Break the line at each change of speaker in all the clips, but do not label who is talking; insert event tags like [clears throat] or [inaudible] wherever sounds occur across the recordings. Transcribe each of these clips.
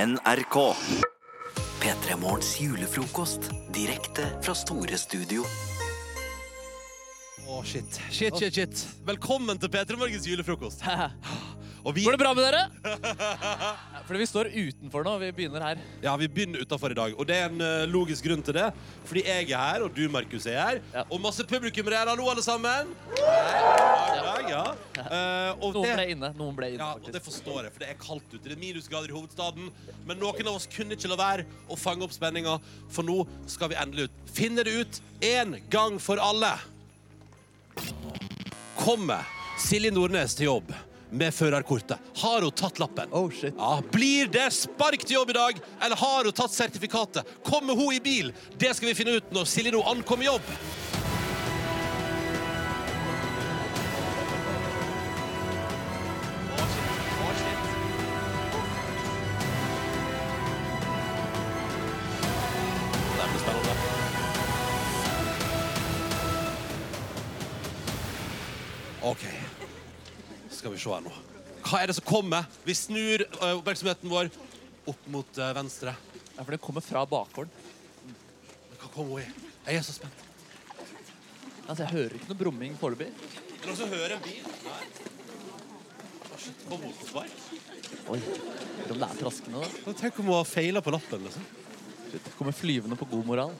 NRK. P3 Morgens julefrokost. Direkte fra Store Studio.
Å, shit. Shit, shit, shit. Velkommen til P3 Morgens julefrokost. Og vi,
[laughs] Går det bra med dere? Fordi vi står utenfor nå. Vi begynner her.
ja, vi begynner utafor i dag, og det er en eh, logisk grunn til det. Fordi jeg er her, og du, Markus, er her.
Ja.
Og masse publikum er her. Hallo, alle sammen. Hei, god dag, ja. Eh, og,
Noen ble
det,
inne. Noen ble inne
ja, og det
faktisk.
forstår jeg, for det er kaldt ute. Det er minusgrader i hovedstaden. Men noen av oss kunne ikke la være å fange opp spenninga, for nå skal vi endelig ut. Finne det ut én gang for alle. Kommer Silje Nordnes til jobb med førerkortet? Har hun tatt lappen?
Oh, shit.
Ja, Blir det spark til jobb i dag, eller har hun tatt sertifikatet? Kommer hun i bil? Det skal vi finne ut når Silje nå ankommer jobb. Det blir spennende. OK. Skal vi se her nå. Hva er det som kommer? Vi snur ø, oppmerksomheten vår opp mot ø, venstre.
Ja, for det kommer fra bakgården.
Men hva kommer hun i? Jeg er så spent.
Altså, jeg hører ikke noe brumming foreløpig.
Er det noen som hører en bil? Nei. Å, shit, Kom hun på spark?
Oi. Hører om det er traskende, da.
Nå, Tenk om hun har feila på lappen. liksom.
Shit, det kommer flyvende på god moral.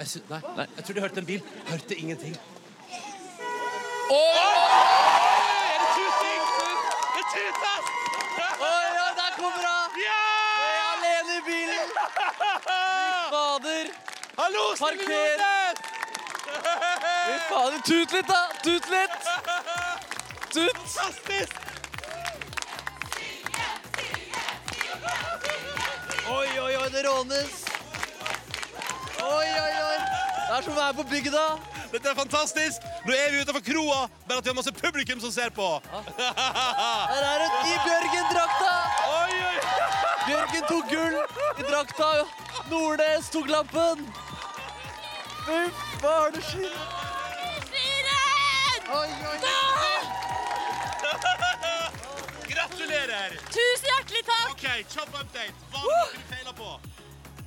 Jeg sy nei. nei, jeg trodde jeg hørte en bil. Hørte ingenting. Oi, Er det tuting? Det tutes!
Oi, oi, der kommer hun!
Ja!
Jeg er alene i bilen! Fader!
Hallo, Silje
Parker!
Nordnes!
Fy fader, tut litt, da! Tut litt! Tut!
Fantastisk!
Oi, oi, oi, det rånes! Oi, oi, oi! Det er som å være på bygda.
Dette er fantastisk! Nå er vi utenfor kroa, men at vi har masse publikum som ser på.
Der er hun i Bjørgen-drakta!
Oi, [laughs] oi!
Bjørgen tok gull i drakta. Nordnes tok lappen. Fy faen, det skjer.
Fyren!
Oi, oi, oi.
Gratulerer!
Tusen hjertelig takk!
OK, kjapp update. Hva har du feila på?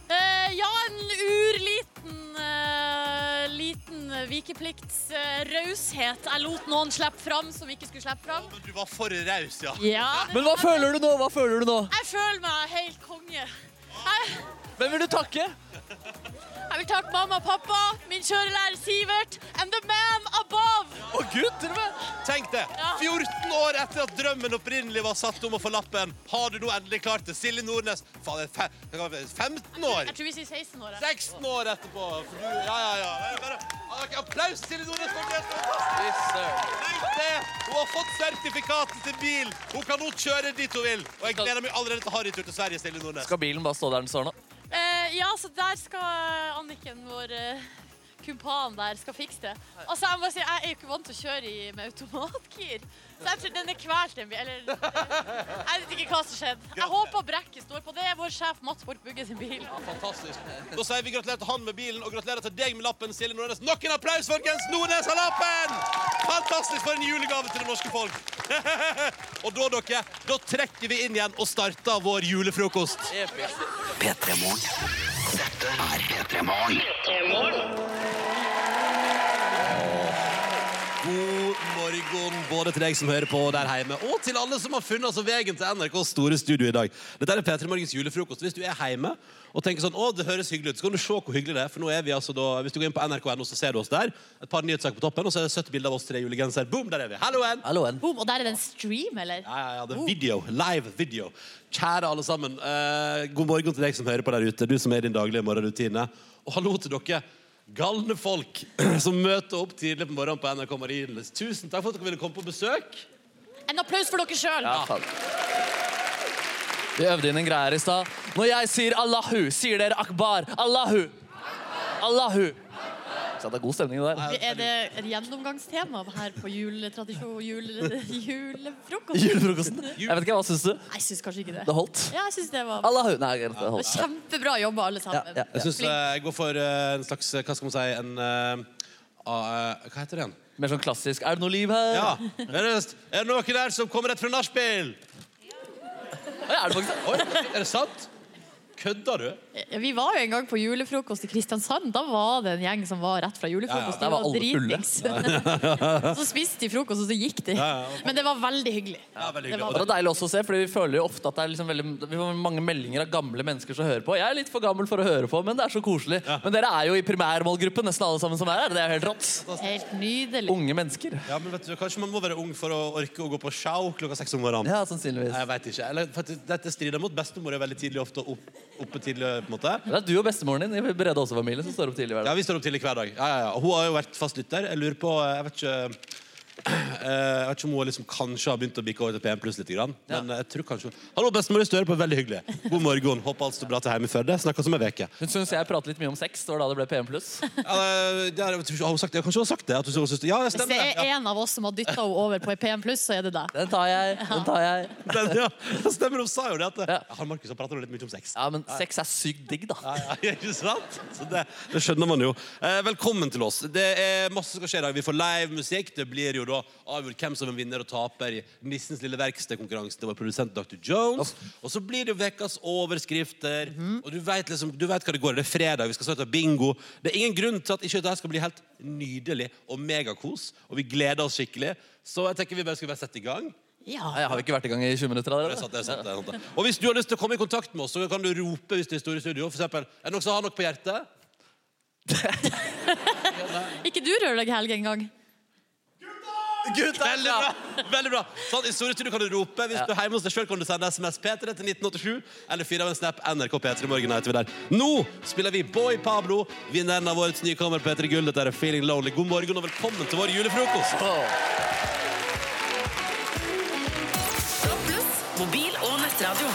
Eh, ja, en urliten eh, liten vikeplikts eh, raushet. Jeg lot noen slippe fram som ikke skulle slippe fram.
Men du var for raus, ja.
Ja,
Men hva føler du nå? Hva føler du nå?
Jeg føler meg helt konge. Jeg,
Hvem vil du takke?
jeg vil takke mamma og pappa, min kjørelærer Sivert, and the man above.
Å, Gud, til og med.
Tenk det.
Ja.
14 år etter at drømmen opprinnelig var satt om å få lappen, har du nå endelig klart det. Silje Nordnes. Faen, det er fe- hva var det, 15 år?
Jeg tror vi sier 16 år. jeg.
16 år etterpå. For du, ja, ja, ja. Det er Bare, Ok, applaus, Silje Nordnes. for det er fantastisk. Tenk det! Hun har fått sertifikatet til bil. Hun kan nå kjøre dit hun vil. Og jeg gleder meg allerede til harrytur til Sverige. Silje Nordnes.
Skal bilen bare stå der den står nå?
Eh, ja, så der skal eh, Anniken, vår eh, kumpan der, skal fikse det. Altså, jeg må bare si, jeg er jo ikke vant til å kjøre i, med automatgir. Så jeg tror den er kvalt en bil, eller... eh, Jeg vet ikke hva som skjedde. Jeg håper brekket står på. Det er vår sjef Mats Borg Bugge sin bil.
Fantastisk. Da sier vi gratulerer til han med bilen, og gratulerer til deg med lappen, Silje Nordnes. Nok en applaus, folkens! Nordnes har lappen! Fantastisk for en julegave til det norske folk. [laughs] og da, dere, da trekker vi inn igjen og starter vår julefrokost.
P3 Morgen. Dette er P3 Morgen.
God morgen både til deg som hører på der hjemme, og til alle som har funnet altså veien til NRKs store studio i dag. Dette er P3 Morgens julefrokost. Hvis du er hjemme og tenker sånn, å, det høres hyggelig ut, så kan du se hvor hyggelig det er. For nå er vi altså da, Hvis du går inn på nrk.no, så ser du oss der. Et par nyhetssaker på toppen, og så er det 70 bilder av oss tre i julegenser. Boom, der er vi. Hallo, N!
Halloen.
Boom, og der er det en stream, eller?
Ja, ja, ja, det er video. Live video. Kjære alle sammen. eh, god morgen til deg som hører på der ute, du som er i din daglige morgenrutine. Og hallo til dere galne folk [clears throat] som møter opp tidlig på morgenen på NRK Marienlyst. Tusen takk for at dere ville komme på besøk.
En applaus for dere selv.
Ja, faen. Vi øvde inn en greie her i stad. Når jeg sier Allahu, sier dere akbar. Allahu. Allahu. Så det er god stemning der.
Er det et gjennomgangstema her på juletradisjon, jule,
[laughs]
julefrokost?
Julefrokosten. Jeg vet ikke, Hva syns du?
Nei, jeg synes kanskje ikke det.
Det holdt?
Ja, jeg synes det var...
Allahu. Nei, greit, det holdt.
Kjempebra jobba, alle sammen.
Ja, ja.
Jeg syns jeg går for eh, en slags eh, Hva skal man si en, eh, ah, eh, Hva heter det igjen?
Mer sånn klassisk. Er det noe liv her?
Ja, er det, er det noen der som kommer rett fra nachspiel?
Oi, er det faktisk det?
Oi, er det sant? Kødder du?
Ja, Vi var jo en gang på julefrokost i Kristiansand. Da var det en gjeng som var rett fra julefrokost.
Ja, ja, der
De
var alle fulle.
[laughs] så spiste de frokost, og så gikk de.
Ja, ja.
Men det var veldig hyggelig.
Ja, veldig
Det
hyggelig.
var-
Og
Det var deilig også å se, fordi vi føler jo ofte at det er liksom veldig, vi får mange meldinger av gamle mennesker som hører på. Jeg er litt for gammel for å høre på, men det er så koselig. Men dere er jo i primærmålgruppen, nesten alle sammen som er her. Det er jo helt rått.
Helt nydelig.
Unge mennesker.
Ja, men vet du, Kanskje man må være ung for å orke å gå på show klokka seks om morgenen.
Ja, sannsynligvis.
Nei, Jeg vet ikke. Eller, for at dette strider mot bestemor er veldig tidlig ofte opp, oppe tidlig. på en måte.
Det er du og bestemoren din i Brede Aase-familien som står opp tidlig hver
Ja,
dag.
Vi står opp tidlig hver dag. Ja, ja, ja. Og Hun har jo vært fast lytter. Jeg lurer på, jeg vet ikke... eh, Jeg vet ikke om hun liksom kanskje har begynt å bikke over til P1 pluss litt. Grann. Men eh, jeg tror kanskje Hallo, bestemor i Støre på veldig hyggelig. God morgen. Håper alt står bra til hjemme i Førde. Snakkes om ei uke.
Hun syns jeg prater litt mye om sex, det var da det ble PM+. Nei,
Ja, eh, det- det er- jeg tror ikke- Har hun sagt det? Kanskje hun har sagt det? At hun synes det. Ja, det
Hvis
stemmer.
det er
Ja.
en av oss som har dytta henne over på EPM+, så er det deg.
Den tar jeg. Den tar jeg.
Den, ja. [laughs] det stemmer, hun sa jo det. At,
Ja.
ja. Han Markus har pratet litt mye om sex.
Ja, men sex er sykt digg, da.
Ja, ja, [laughs] ikke sant? Så det, det skjønner man jo. Eh, velkommen til oss. Det er masse som skal skje i dag. Vi får live musikk. Det blir jo da avgjort hvem som er vinner og taper i Nissens lille verkstedkonkurranse. Det var produsent Dr. Jones. Og så blir det jo ukas overskrifter. Og du vet, liksom, du vet hva det går i. Det er fredag, vi skal snart ha bingo. Det er ingen grunn til at ikke dette skal bli helt nydelig og megakos. Og vi gleder oss skikkelig. Så jeg tenker vi bare skal bare sette i gang.
Ja.
Nei, Jeg har ikke vært i gang i 20 minutter
Det er
allerede.
sant, det er sant, det er sant. det. Og hvis du har lyst til å komme i kontakt med oss, så kan du rope hvis det er store studio. For eksempel, er det noen som har noe på hjertet?
Ikke du Rørlegg Helge engang.
Gutta!
Veldig bra! veldig bra sånn, I store studio kan du rope. Hvis du er hjemme hos deg selv kan du sende SMS P3 til 1987. Eller fyre av en snap NRK P3 Morgen. heter vi der. Nå spiller vi Boy Pablo, vinneren av årets nykommer P3 Gull. Dette er Feeling Lonely. God morgen og velkommen til vår julefrokost.
Åh,
Pluss, mobil og nettradio.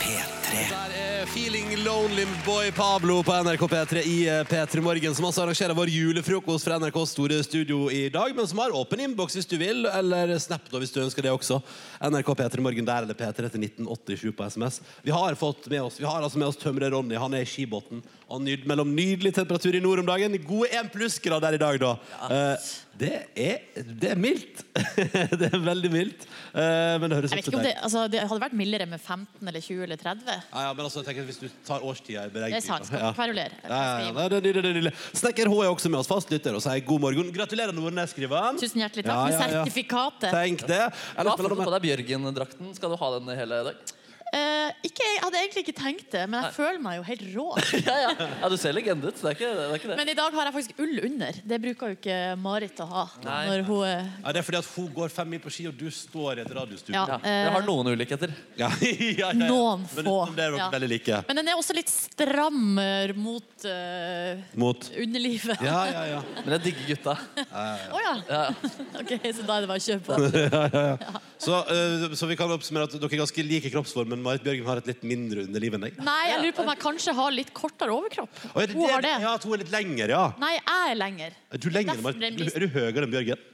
P3
Der er Feeling Lonely med Boy Pablo på NRK P3 i eh, P3 Morgen, som altså arrangerer vår julefrokost fra NRKs store studio i dag, men som har åpen innboks hvis du vil, eller snap da hvis du ønsker det også. NRK P3 Morgen der eller P3 til 1987 på SMS. Vi har fått med oss, vi har altså med oss tømrer Ronny, han er i skibåten, og nyd, mellom nydelig temperatur i nord om dagen, gode 1 plussgrad der i dag da. Eh, det, er, det er mildt. [laughs] det er veldig mildt. Eh, men det høres ut
Jeg vet
som
ikke om
det
det, altså, det hadde vært mildere med 15 eller 20 eller 30.
Ja, ja, men altså, jeg tenker at Hvis du tar årstida i beregning
Det er sant. Skal
ja.
ikke kverulere.
Ja, ja, ja. Nei, det er nydelig, det er nydelig. Snekker H er også med oss, fastlytter, og sier god morgen. Gratulerer, Nordnes, skriver han.
Tusen hjertelig takk for sertifikatet.
Tenk det.
Du
Eller
har
spiller
fått på
du med?
deg Bjørgen-drakten. Skal du ha den i hele dag?
Eh, ikke, jeg hadde egentlig ikke tenkt det, men jeg føler meg jo helt
[laughs]
rå.
Ja, ja. ja du ser legende ut. så Det er ikke det. Er ikke det.
Men i dag har jeg faktisk ull under. Det bruker jo ikke Marit å ha.
Nei.
Når hun eh,
Ja, det er fordi at hun går fem mil på ski, og du står i et radiostudio.
Ja. eh,
Ja, dere har noen ulikheter.
[laughs] Ja, ja, ja, ja.
Noen
Men
få.
utenom det er dere
Ja.
veldig like.
Men den er også litt stram eh, mot eh,
Mot
underlivet. Å
Ja, ja, ja.
Men jeg digger gutta.
ja.
Ja.
[laughs] OK, så da er det bare å kjøpe den.
Så, eh, så vi kan oppsummere at dere er ganske like i kroppsform, men Marit Bjørgen har et litt mindre underliv enn deg.
Nei, jeg lurer på om jeg kanskje har litt kortere overkropp.
Og er det
Hun har det.
Ja, at hun er litt lengre, ja.
Nei, jeg er lenger.
Er du lengre, Marit?
Derfor ble den
Er du høyere enn Bjørgen?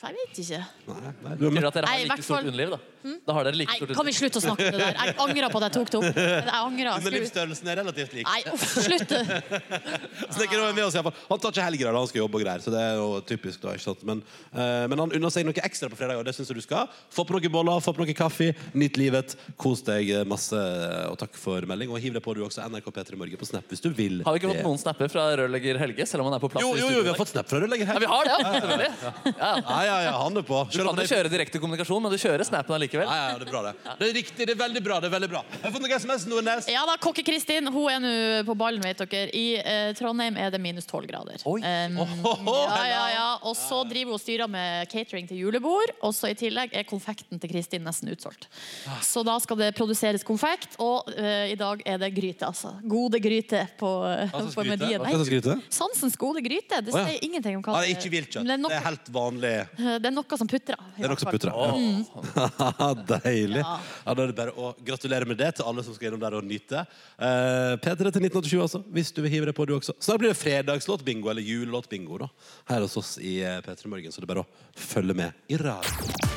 Jeg vet ikke.
Nei, nei, du er
Betyr det at dere
Nei,
har
i hvert
like stort
fall-
underliv, da? Da har dere like
Nei,
stort
kan vi
underliv.
slutte å snakke om det der? Jeg angrer på at jeg tok det opp. Jeg angrer. Skru-
Underlivsstørrelsen er relativt lik.
Nei, uff, slutt.
Snekker er med oss i hvert fall. Han tar ikke helger da han skal jobbe og greier. Så det er jo typisk da, ikke sant? Men, eh, men han unner seg noe ekstra på fredag, og det syns jeg du skal. Få på noen boller, få på noe kaffe, nyt livet. Kos deg eh, masse, og takk for melding. Og hiv deg på du også, NRK P3 Morgen på Snap hvis du vil.
Har vi ikke
det.
fått noen snapper fra rørlegger Helge? selv om han er på plass?
Jo,
i
jo,
studio i
jo, vi
dag?
har fått Snap fra deg,
Ja,
her.
vi har det, ja, selvfølgelig. Ja, ja.
Ja, ja, ja, han er på.
Du
Selv om
kan
det
jo kjøre direkte kommunikasjon, men du kjører snappen allikevel.
Ja, ja, det er bra, det. Det er riktig, det er veldig bra. det er veldig bra. Jeg har fått noen SMS, Nordnes.
Ja da, Kokke-Kristin hun er nå på ballen, vet dere. I eh, Trondheim er det minus 12 grader.
Oi.
Um,
Ohoho,
ja, ja, ja. Og så driver hun og styrer med catering til julebord. Og så i tillegg er konfekten til Kristin nesten utsolgt.
Ah.
Så da skal det produseres konfekt, og eh, i dag er det gryte, altså. Gode gryte på, eh,
slags
på
gryte?
medien.
Hva slags gryte?
Sansens gode gryte. Det
Å, ja.
sier ingenting om hva
Ja, det er ikke viltkjøtt.
Men Det er
Det er
noe,
helt vanlig.
det er noe som putrer.
Det
i
er
hvert
nokså
fall.
putra. Ja. [laughs] Deilig. Ja. Da er det bare å gratulere med det til alle som skal gjennom der og nyte. Eh, P3 til 1987, altså. Hvis du vil hive deg på, du også. Snart blir det fredagslåtbingo, eller julelåtbingo, da. Her hos oss i eh, P3 Morgen, så det er bare å følge med i radioen.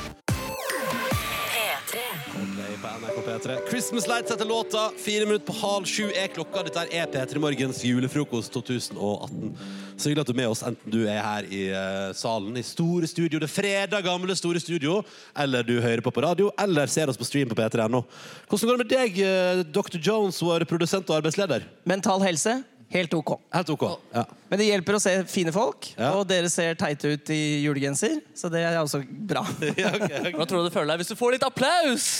P3.
Play på NRK på P3. Christmas Lights heter låta. Fire minutter på halv sju er klokka. Dette er P3 Morgens julefrokost 2018. Så hyggelig at du er med oss, enten du er her i eh, salen i store studio, det fredag gamle store studio, eller du hører på på radio, eller ser oss på stream på p3.no. Hvordan går det med deg, eh, Dr. Jones, vår produsent og arbeidsleder?
Mental helse, helt ok.
Helt OK. Ja.
Men det hjelper å se fine folk,
Ja.
og dere ser teite ut i julegenser, så det er også bra.
Ja, ok, ok.
Hvordan tror du du føler deg hvis du får litt applaus?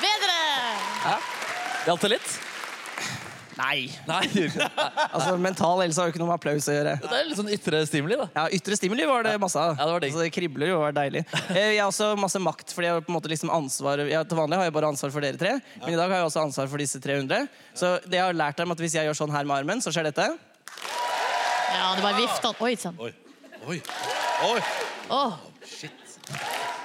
Bedre!
Hjalp det litt?
Nei.
[laughs] Nei. Det
Altså, mental helse har jo ikke noe med applaus å gjøre.
er litt sånn ytre stimuli, da.
Ja, Ytre stimuli var det masse av.
Ja, det var digg.
altså, det kribler jo og er deilig. Eh, Jeg har også masse makt, fordi jeg har på en måte liksom ansvar jeg, Til vanlig har jeg bare ansvar for dere tre, men i dag har jeg også ansvar for disse 300. Så det jeg har lært dem at hvis jeg gjør sånn her med armen, så skjer dette.
Ja, det var vifta. Oi sann.
sånn.
Oi. Oi. Oi.
Åh.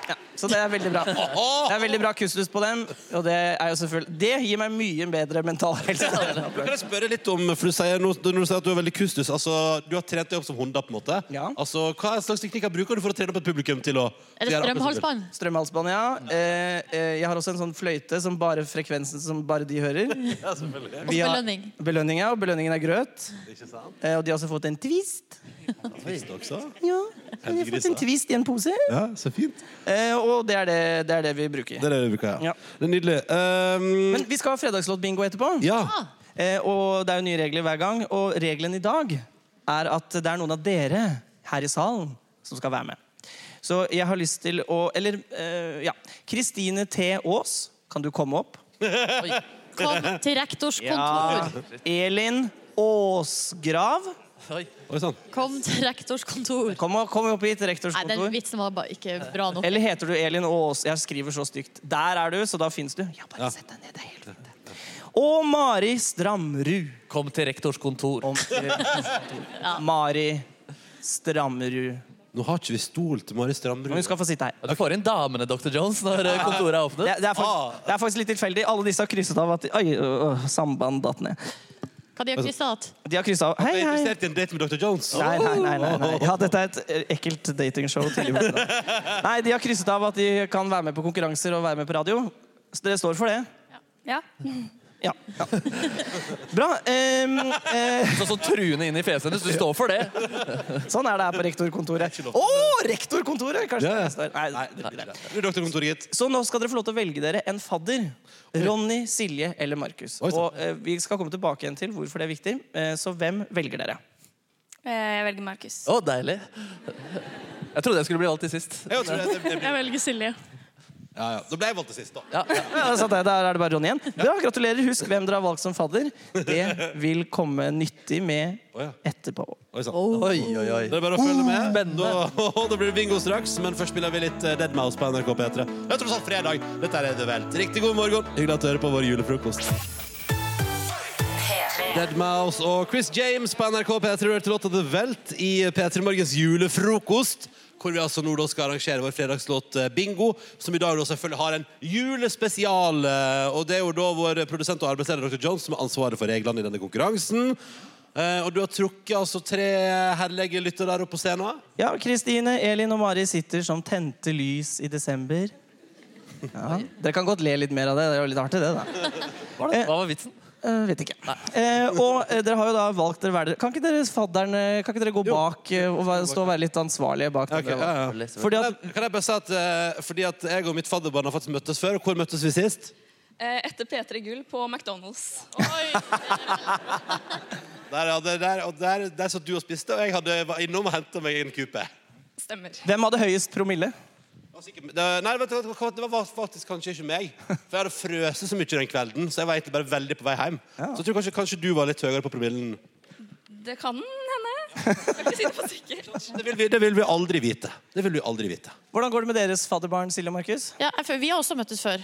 Ja, så det er veldig bra. Det er veldig bra kustus på dem, og det er jo selvfølgelig Det gir meg mye bedre mental
[laughs]
helse.
Kan jeg spørre litt om, for du sier, nå- Når du sier at du er veldig kustus altså, Du har trent deg opp som hunder. på en måte
Ja.
altså, Hva slags teknikker bruker du for å trene opp et publikum? til å
Er det
gjøre akkurat som du vil?
strømhalsbånd?
Strømhalsbånd, ja. Eh, eh, jeg har også en sånn fløyte som bare frekvensen som bare de hører. Vi har-
belønning.
Belønning, ja. Og belønningen er grøt. Eh, og de har også fått en twist.
Visst også.
Ja, de har fått en twist i en pose.
Ja, så fint.
Eh, og det er det, det er det vi bruker.
Det er det du bruker, ja.
Ja.
Det er nydelig. Um,
Men vi skal ha fredagslåtbingo etterpå.
ja.
Ah.
Ah,
Eh, og det er jo nye regler hver gang. Og regelen i dag er at det er noen av dere her i salen som skal være med. Så jeg har lyst til å Eller, eh, ja. Kristine T. Aas, kan du komme opp?
Kom til rektors kontor.
Elin Aasgrav.
Oi.
Oi sånn. sann.
Kom til rektors kontor.
Kom, opp- kom opp hit, rektors
Nei, den
kontor.
vitsen var bare ikke bra nok.
Eller heter du Elin Aas? Jeg skriver så stygt. Der er du, så da fins du. Ja, bare sett deg ned. Det er helt fint. det. Og Mari Stramrud.
Kom til rektors kontor.
Om Mari Stramrud.
Nå har ikke vi stol til Mari Strandbrud.
Men hun skal få sitte her.
Du får inn damene, Dr. Jones, når eh, kontoret er
Det,
åpnet.
det, er faktisk, det er faktisk litt tilfeldig. Alle disse har krysset av at de, Oi, ø, ø, samband datt ned.
Hva
Altså-
de har kryssa att?
De har krysset av Hei,
Jeg er
hei.
interessert i en date med Dr. Jones.
Nei, nei, nei. nei, nei. Ja, dette er et ø, ekkelt datingshow. tidlig på morgenen. [laughs] Nei, de har krysset av at de kan være med på konkurranser og være med på radio. Så dere står for det?
Ja.
Ja. ja. Bra. em, eh,
Sånn som truende inn i fjeset hennes. Du står for det.
sånn er det her på rektorkontoret. Å, rektorkontoret! Kanskje
Ja, ja.
det står. Nei, det er greit.
Du er doktorkontoret, gitt.
Så nå skal dere få lov til å velge dere en fadder. Ronny, Silje eller Markus.
Oi, sant.
Og eh, Vi skal komme tilbake igjen til hvorfor det er viktig. Eh, så hvem velger dere?
Eh,
Jeg velger Markus.
Å, deilig. Jeg trodde jeg skulle bli valgt til sist.
Jeg tror det, det blir...
Jeg velger Silje.
ja, ja. Da ble jeg valgt til sist, da.
Ja, ja.
Ja, der satt jeg. Der er det bare Ronny igjen. Bra, Gratulerer. Husk hvem dere har valgt som fadder. Det vil komme nyttig med
Å, ja.
etterpå.
Oi sann.
Oi, oi, Mm. oi.
Det er bare å følge med. [laughs] Da, da blir det bingo straks, men først spiller vi litt eh, Dead Mouse på NRK P3. Det er tross alt fredag. Dette er det vel. Riktig god morgen. Hyggelig at du hører på vår julefrokost. Dead Mouse og Chris James på NRK P3 hørte låta The Velt i P3 Morgens julefrokost. Hvor vi altså nå da skal arrangere vår fredagslåt eh, Bingo, som i dag da selvfølgelig har en julespesial. eh, Og det er jo da vår produsent og arbeidsleder Dr. Jones som har ansvaret for reglene i denne konkurransen. Eh, Og du har trukket altså tre herlige lyttere der oppe på scenen.
Ja, Kristine, Elin og Mari sitter som tente lys i desember. Ja. Dere kan godt le litt mer av det. Det er jo litt artig, det. da.
Hva var vitsen?
Eh, vet ikke. Eh, og eh, dere har jo da valgt dere hver dere. Kan ikke dere fadderne, kan ikke dere gå bak eh, og være- stå og være litt ansvarlige bak? den
Ok,
dere har valgt?
ja, ja.
Fordi
Fordi at
Kan jeg- Kan jeg bare si at, eh, fordi at jeg og mitt fadderbarn har faktisk møttes før. Og hvor møttes vi sist?
Eh, Etter P3 Gull på McDonald's.
Der, ja, der, der, og der, der satt du og spiste, og jeg hadde, var innom og henta meg en kupe.
Stemmer.
Hvem hadde høyest promille?
Det var sikkert- det- Nei, vet du, hva, det var faktisk kanskje ikke meg. For jeg hadde frøset så mye den kvelden, så jeg var egentlig bare veldig på vei hjem. Så jeg tror kanskje, kanskje du var litt høyere på promillen.
Det kan hende. Jeg kan ikke si det for sikkert.
Det vil vi, det vil vi aldri vite. Det vil vi aldri vite.
Hvordan går det med deres fadderbarn, Silje og Markus?
ja for vi har også møttes før.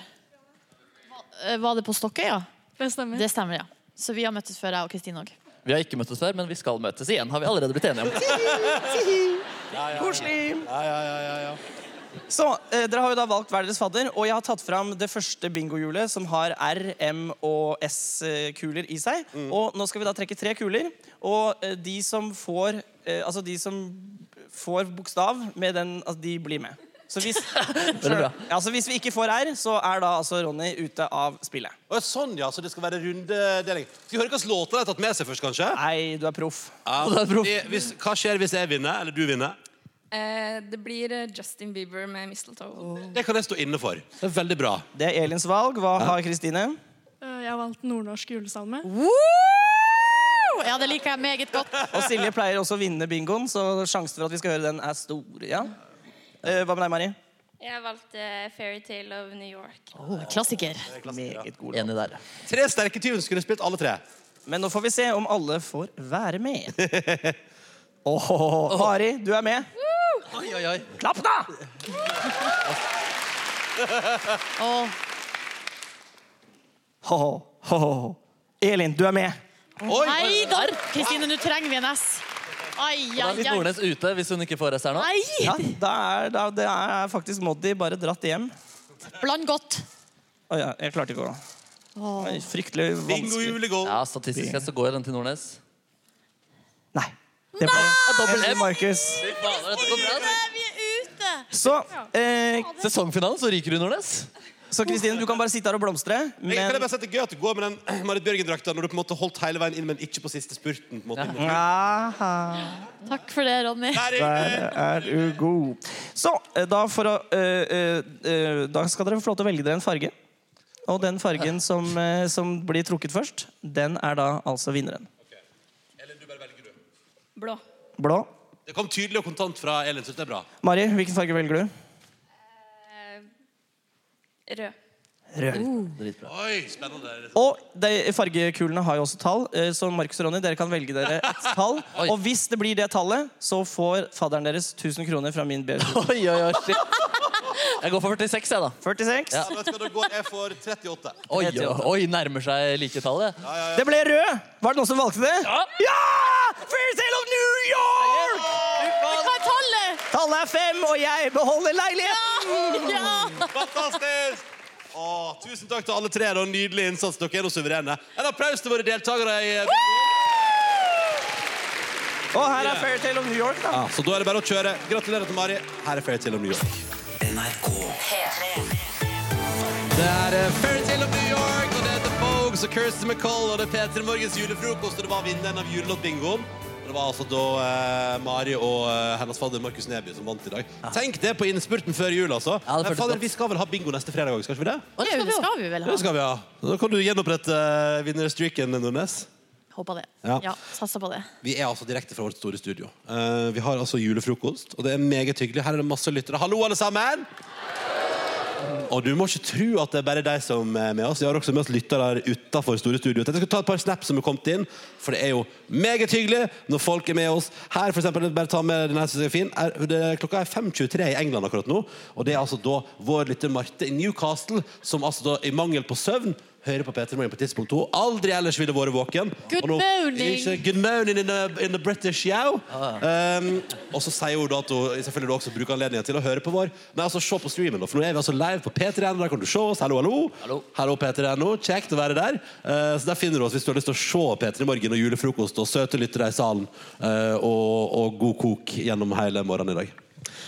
Eh, Var det på Stokkøya?
Det stemmer.
Det stemmer, ja. Så vi har møttes før, jeg og Kristine òg.
Vi har ikke møttes før, men vi skal møtes igjen, har vi allerede blitt enige om.
Koselig! Så, eh, Dere har jo da valgt hver deres fadder, og jeg har tatt fram det første bingohjulet som har R, M og S-kuler i seg. Og Nå skal vi da trekke tre kuler, og eh, de som får eh, Altså de som får bokstav med den, altså de blir med. Så hvis,
Veldig bra.
ja, så hvis vi ikke får R, så er da altså Ronny ute av spillet.
Å, sånn, ja. Så det skal være rundedeling. Skal vi høre hvilke låter de har tatt med seg først, kanskje?
Nei, du er proff.
Ja.
det er proff.
Vi- Hvis, hva skjer hvis jeg vinner, eller du vinner?
Eh, det blir eh, Justin Bieber med Mistletoe.
Oh.
Det kan jeg stå inne for. Det er veldig bra.
Det er Elins valg. Hva har Kristine?
Eh, Jeg har valgt nordnorsk julesalme.
Woo! Ja, det liker jeg meget godt.
Og Silje pleier også å vinne bingoen, så sjansen for at vi skal høre den, er stor. Ja. Eh, Hva med deg, Mari?
Jeg valgte Fairytale of New York.
Klassiker.
Meget god.
Enig der.
Tre sterke tyven skulle spilt alle tre.
Men nå får vi se om alle får være med. Åh, Mari, du er med.
Oi, oi, oi.
Klapp, da!
Åh.
Åh, åh. Elin, du er med.
Oi, oi.
Nei da! Kristine, nå trenger vi en S. Ai,
Da
ai,
er Litt
ai.
Nordnes ute hvis hun ikke får S her nå.
Nei!
Ja, da er, da, det er faktisk Moddi bare dratt hjem.
Bland godt.
Å ja, jeg klarte ikke å Oi, Fryktelig
Bingo
vanskelig.
julegål.
Ja, Statistisk sett så går den til Nordnes.
Nei. Det ble
Dobbel
Heldig,
M.
Markus.
Fy fader, dette går bra, ass.
Vi er ute!
Så, eh,
Sesongfinalen, så ryker du, Nordnes.
så Kristine, du kan bare sitte her og blomstre.
Jeg kan jeg
Men
bare si at det er gøy at du går med den [clears throat] Marit Bjørgen-drakta når du på en måte holdt hele veien inn, men ikke på siste spurten. på en måte.
Aha,
Takk for det, Ronny.
Der
der
inne.
er du god. Så, eh, da, for å, eh, eh, eh, da skal dere få lov til å velge dere en farge. Og den fargen som, eh, som blir trukket først, den er da altså vinneren.
Eller du bare velger, du.
Blå.
Blå.
Det kom tydelig og kontant fra Elin. Synes det er bra.
Mari, hvilken farge velger du?
Rød.
Rød.
Dritbra.
Oi, spennende.
Og de fargekulene har jo også tall, eh, så Markus og Ronny, dere kan velge dere et
[laughs]
tall.
Oi.
Og hvis det blir det tallet, så får fadderen deres 1000 kroner fra min BSU.
[laughs] Oi, oi, oi, shit. Jeg går for 46, jeg, da.
46.
Ja.
Vet du hva, da går jeg for 38.
Oi, oi, oi, nærmer seg liketallet.
Det ble rød! Var det noen som valgte det? Ja! Fair Tale of New York!
Hva er tallet?
Tallet er fem, og jeg beholder leiligheten!
Ja!
Fantastisk! Å, tusen takk til alle tre. Det var en Nydelig innsats. Dere er jo suverene. En applaus til våre deltakere. I...
Og her er Fair Tale of New York, da.
Ja, så da er det bare å kjøre. Gratulerer til Mari. Her er Fairytale of New York.
NRK
Det er eh, Fairytale of New York, og det heter Bogues og Kirsty MacColl, og det er P3 Morgens julefrokost, og det var vinneren av julelåtbingoen. Og Det var altså da eh, Mari og eh, hennes fadder Markus Neby som vant i dag. Tenk det på innspurten før jul, altså.
Ja, det
Men
føltes
fader,
godt.
vi skal vel ha bingo neste fredag òg, skal ikke vi det?
Å, det
Jo,
skal
det skal
vi ha.
vi vel
Det
ha.
skal vi ha. Da kan du gjenopprette eh, vinnerstreaken, Nordnes.
Håper det.
Ja.
Ja, satser på det.
Vi er altså direkte fra vårt store studio. Eh, vi har altså julefrokost, og det er meget hyggelig. Her er det masse lyttere. Hallo, alle sammen! Og du må ikke tro at det er bare deg som er med oss. Vi har også med oss lyttere utenfor store studio. Jeg skal ta et par snaps som er kommet inn, for det er jo meget hyggelig når folk er med oss. Her, for eksempel, bare ta med den her som er fin. Er, det, klokka er 5.23 i England akkurat nå, og det er altså da vår lytter Marte i Newcastle, som altså da i mangel på søvn hører på P3 Morgen på tidspunkt hun aldri ellers ville vært våken.
Good
Og nå-
morning.
Ikke Good morning in the, in the British yow. Um, og så sier hun da at hun selvfølgelig også bruker anledningen til å høre på vår. Nei, altså se på streamen, da, for nå er vi altså live på P3N. Der kan du se oss. Hallo, hallo.
Hallo.
P3NO. Kjekt å være der. Eh, så der finner du oss hvis du har lyst til å se P3 Morgen og julefrokost og søte lyttere i salen eh, og, og god kok gjennom hele morgenen i dag.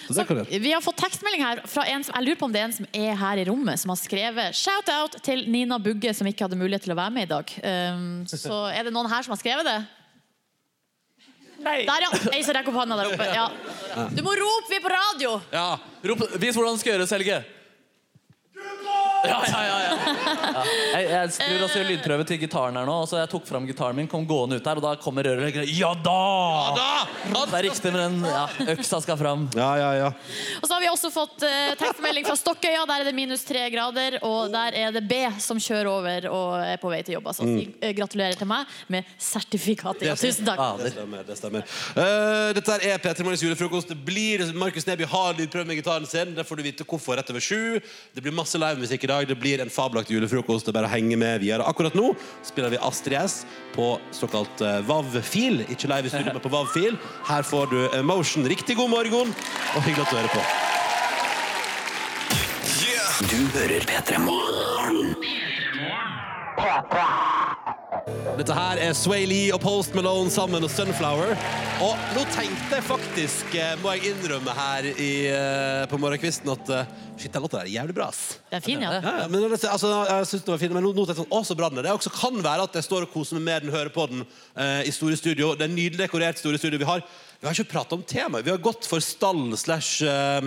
Så det kan du gjøre.
Vi har fått tekstmelding her fra en som jeg lurer på om det er en som er her i rommet, som har skrevet shout-out til Nina Bugge, som ikke hadde mulighet til å være med i dag. Um, så er det noen her som har skrevet det? Der, ja. Ei som rekker opp hånda der oppe. Ja. Du må rope, vi er på radio!
Ja, rop, Vis hvordan det skal gjøres, Helge. Ja, ja, ja, ja. ja. Jeg, jeg skulle også gjøre lydprøve til gitaren her nå. Og så jeg tok fram gitaren min, kom gående ut der, og da kommer røret. Ja da! Det er riktig, men den ja, øksa skal fram.
Ja, ja, ja.
Og så har vi også fått eh, tekstmelding fra Stokkøya. Der er det minus tre grader, og der er det B som kjører over og er på vei til jobb. Altså, si, eh, gratulerer til meg med sertifikatet. Ja, tusen takk.
Ja,
Mm. Det
det-
stemmer. det stemmer Eh, Dette her er P3 Morgens julefrokost. Det blir Markus Neby har lydprøve med gitaren sin. Der får du vite hvorfor rett over sju. Det blir masse livemusikk i dag. Det blir en fabelaktig julefrokost. Det er bare å henge med videre. Akkurat nå spiller vi Astrid S på såkalt eh, WAV-fil. Ikke live i studio, men på WAV-fil. Her får du Emotion. Riktig god morgen, og hyggelig at du hører på.
Du hører P3 Morgen
Dette her er Sway Lee og Post Malone sammen og Sunflower. Og nå tenkte jeg faktisk, eh, må jeg innrømme her i, eh, på morgenkvisten, at eh, shit, den låta der er jævlig bra. ass.
Det er fin, ja.
Ja, ja, men det- altså, jeg synes den var fin, men nå nå tenkte jeg sånn, å, så bra den er. Det også kan være at jeg står og koser meg med den, hører på den eh, i store studio. Det er nydelig dekorert store studio vi har. Vi har ikke pratet om temaet. Vi har gått for stall slash... eh,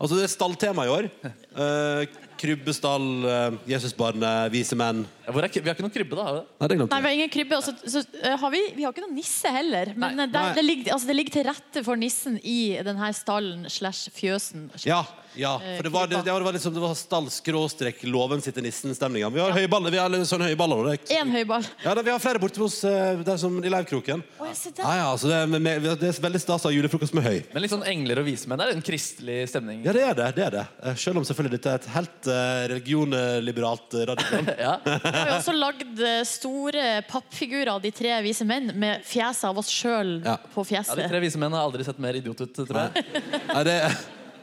altså, det er stalltema i år. Eh, krybbestall, eh, Jesusbarnet, vise menn.
Hvor er, k- vi har ikke noen krybbe, da? har vi det?
Nei, det glemte
Nei,
jeg.
vi har ingen krybbe. Og så, så eh, har vi, vi har ikke noen nisse heller. Men
Nei.
eh, der,
Nei.
det, ligger, altså, det ligger til rette for nissen i denne stallen slash fjøsen.
Ja, ja. For det var, det, det var- det var liksom Det var stallskråstrek låven sitter nissen-stemninga. Vi har høye baller. Vi har litt sånn høye baller nå. det er-
Én høyball.
Ja, da, vi har flere borte hos eh, der som, i leirkroken.
Å, se der.
Ja, ja, så det, er- men- men- det er veldig stas å ha julefrokost med høy.
Men litt sånn engler og vismenn. Det er en kristelig stemning.
Ja, det er det. det er det Eh, Selv om selvfølgelig dette er et helt eh, religionliberalt eh, radioprogram.
Vi har jo også lagd eh, store pappfigurer av de tre vise menn med fjeset av oss sjøl
Ja.
på
Ja, de
fjeset.
tre vismennene har aldri sett mer idiot ut, tror jeg.
Nei, det,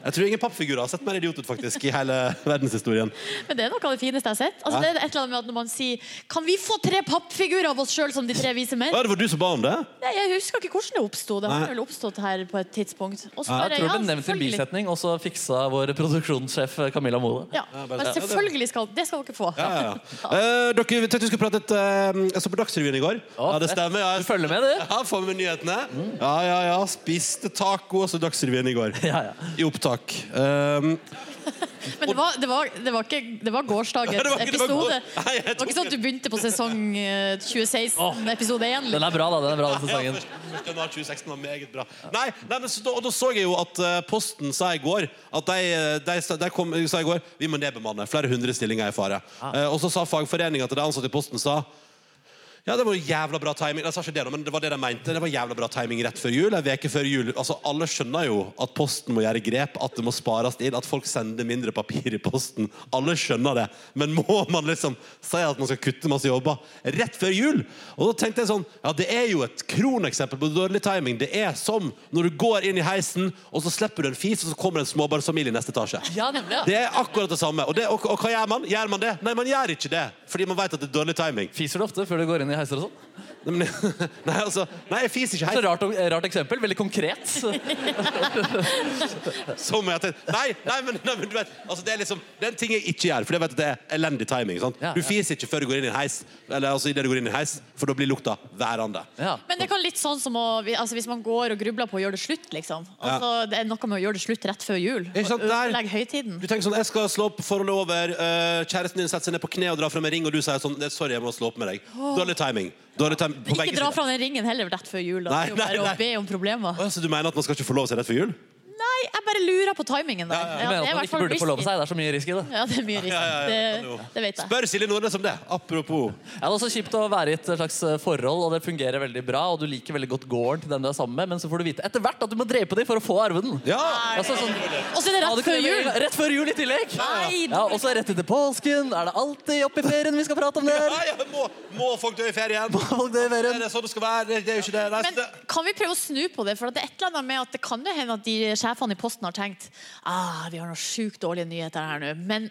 jeg tror ingen pappfigurer har sett mer idiot ut, faktisk, i hele verdenshistorien.
Men det er noe av det fineste jeg har sett. Altså,
Ja.
det er et eller annet med at Når man sier 'Kan vi få tre pappfigurer av oss sjøl som de tre vise menn?'
Hva, det var du som ba om det?
Nei, Jeg husker ikke hvordan det oppsto. Det
Nei.
har vel oppstått her på et tidspunkt. Og så
Jeg tror
bare, ja,
det ble nevnt i en
selvfølgelig.
bisetning, og så fiksa vår produksjonssjef eh, Camilla Mole.
Ja,
bare-
men selvfølgelig skal Det skal dere få.
Ja, ja,
[laughs]
ja. Eh, dere, vi tenkte vi skulle prate litt eh, Jeg så på Dagsrevyen i går.
Å,
Ja, det
fett.
stemmer. Ja, jeg
Du følger med, du?
Ja, får med nyhetene. Ja, ja, ja. Spiste taco og så Dagsrevyen i går.
Ja, ja.
I opptak. Um,
Men det var, det var, det var ikke Det var
[laughs]
gårsdagens
Det var ikke- det var
episode.
går- Nei, jeg
Det var ikke
tok-
sånn at du begynte på sesong eh, 2016,
Åh.
episode 1.
Den er bra, da. den er bra den
ja,
sesongen.
først- først januar 2016 var meget bra. Nei, nei men så, da, og da så jeg jo at eh, Posten sa i går at de, eh, de, sa- de kom, sa i går vi må nedbemanne. Flere hundre stillinger er i fare. Eh, og så sa fagforeninga til de ansatte i Posten sa ja, det var jo jævla bra timing. Jeg sa ikke det, da, men det var det de mente. Det var jævla bra timing rett før jul. En veke før jul. Altså, Alle skjønner jo at Posten må gjøre grep, at det må spares inn, at folk sender mindre papir i posten. Alle skjønner det. Men [laughs] må man liksom si at man skal kutte masse jobber rett før jul? Og da tenkte jeg sånn Ja, det er jo et kroneksempel på dårlig timing. Det er som når du går inn i heisen, og så slipper du en fis, og så kommer det en småbarnsfamilie i neste etasje.
liksom.
Ja, nemlig. Ja.
Det er akkurat det samme. Og, det, og, og hva gjør man? Gjør man det? Nei, man gjør ikke det. Fordi man vet at det er dårlig timing.
Fiser du ofte før du går inn i heiser og sånn?
Nei, men, [laughs] nei, altså, nei jeg fiser ikke
Så
helt.
rart, rart eksempel. Veldig konkret.
[laughs]
Som jeg har tenkt. Nei, nei, men, nei, men du vet, altså, det er liksom Det er en ting jeg ikke gjør, for jeg vet at det er elendig timing. Sant?
Ja,
Du
ja.
fiser ikke før du går inn i en heis, Eller altså, i det du går inn i en heis for da blir lukta værende.
Ja.
Men det kan litt sånn som å, vi- altså hvis man går og grubler på å gjøre det slutt, liksom. Altså, det er noe med å gjøre det slutt rett før jul.
Ikke sant,
og
der-
ødelegge høytiden.
Du tenker sånn, jeg skal slå opp forholdet over eh, Kjæresten din setter seg ned på kne og drar frem en ring, og du sier sånn "Det- Sorry, jeg må slå opp med deg. Dårlig timing. Dårlig timing på
Ikke
begge
dra
sider.
fra den ringen heller rett før jul. Da.
Nei,
det er jo bare
nei, nei.
å be om problemer.
Å, Så du mener at man skal ikke forlove seg rett før jul?
Nei, jeg bare lurer på timingen der.
Du
det
mener
er
at
i
man
hvert
ikke
fall
burde forlove
risky.
seg? Det er så mye risk i det.
Ja, det er mye risky.
ja, ja,
Det,
hallo.
det vet jeg.
Spør Silje Nordnes om det. Apropos.
Ja, det er også kjipt å være i et slags eh, forhold, og det fungerer veldig bra, og du liker veldig godt gården til den du er sammen med, men så får du vite etter hvert at du må drepe dem for å få arven.
Ja!
Altså, sånn,
Og så er det
ja,
rett
du kunne
før jul!
vel- Rett før jul i tillegg.
Nei,
Ja, og så rett etter påsken. Er det alltid opp i ferien vi skal prate om det?
[laughs]
Nei, jeg må, må folk dø i ferien?
folk dø i ferien?
Er det sånn det skal være? Det- Det er jo ikke det. Nei, så
Men
det-
Altså,
kan vi prøve å snu på det? For det er et eller annet med at det kan jo hende at de sjefene i Posten har tenkt ah, vi har noen sjukt dårlige nyheter her nå. Men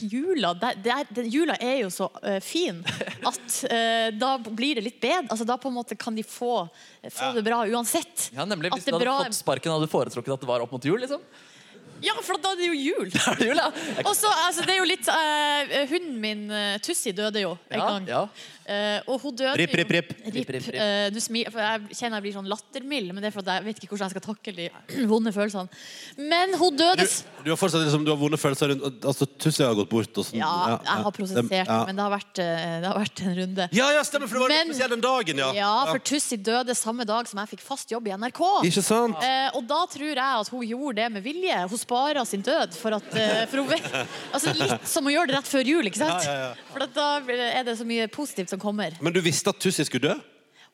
jula, der, der, den, jula er jo så eh, fin at eh, da blir det litt bedre. Altså, da på en måte kan de få, eh, få det bra uansett.
Ja, nemlig.
At
Hvis du
det er
hadde
bra.
fått sparken, hadde du foretrukket at det var opp mot jul, liksom?
Ja, for da er det jo jul.
Er det jul, [laughs] ja?
Og så, altså, det er jo litt eh, Hunden min, eh, Tussi, døde jo en
Ja,
gang.
ja.
Eh, og hun døde
Ripp, ripp, ripp.
jo
Ripp, ripp, ripp.
Eh, du smil, for jeg kjenner jeg blir sånn lattermild, men det er for at jeg vet ikke hvordan jeg skal takle de [clears throat] vonde følelsene. Men hun
Du,
døde s-
du har fortsatt liksom, du har vonde følelser rundt Altså, Tussi har gått bort og sånn.
Ja, jeg har prosessert det,
ja.
men det har, vært, eh, det har vært en runde.
Ja, ja, stemmer, for det var litt
Men-
spesiell den dagen, ja.
Ja, for Tussi døde samme dag som jeg fikk fast jobb i NRK.
Ikke sant?
Eh, og da tror jeg at hun gjorde det med vilje. Hun sparer sin død for at eh, for hun vet, altså Litt som å gjøre det rett før jul, ikke sant?
Ja, ja, ja.
For at da er det så mye positivt som kommer.
Men du visste at Tussi skulle dø?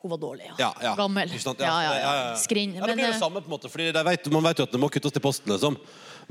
Hun var dårlig, ja.
Ja, ja.
Gammel.
Ikke sant?
Ja, ja, ja. Skrinn.
Ja, det
Men,
blir jo det
eh,
samme, på en måte, fordi de vet, man vet jo at det må kuttes til posten, liksom.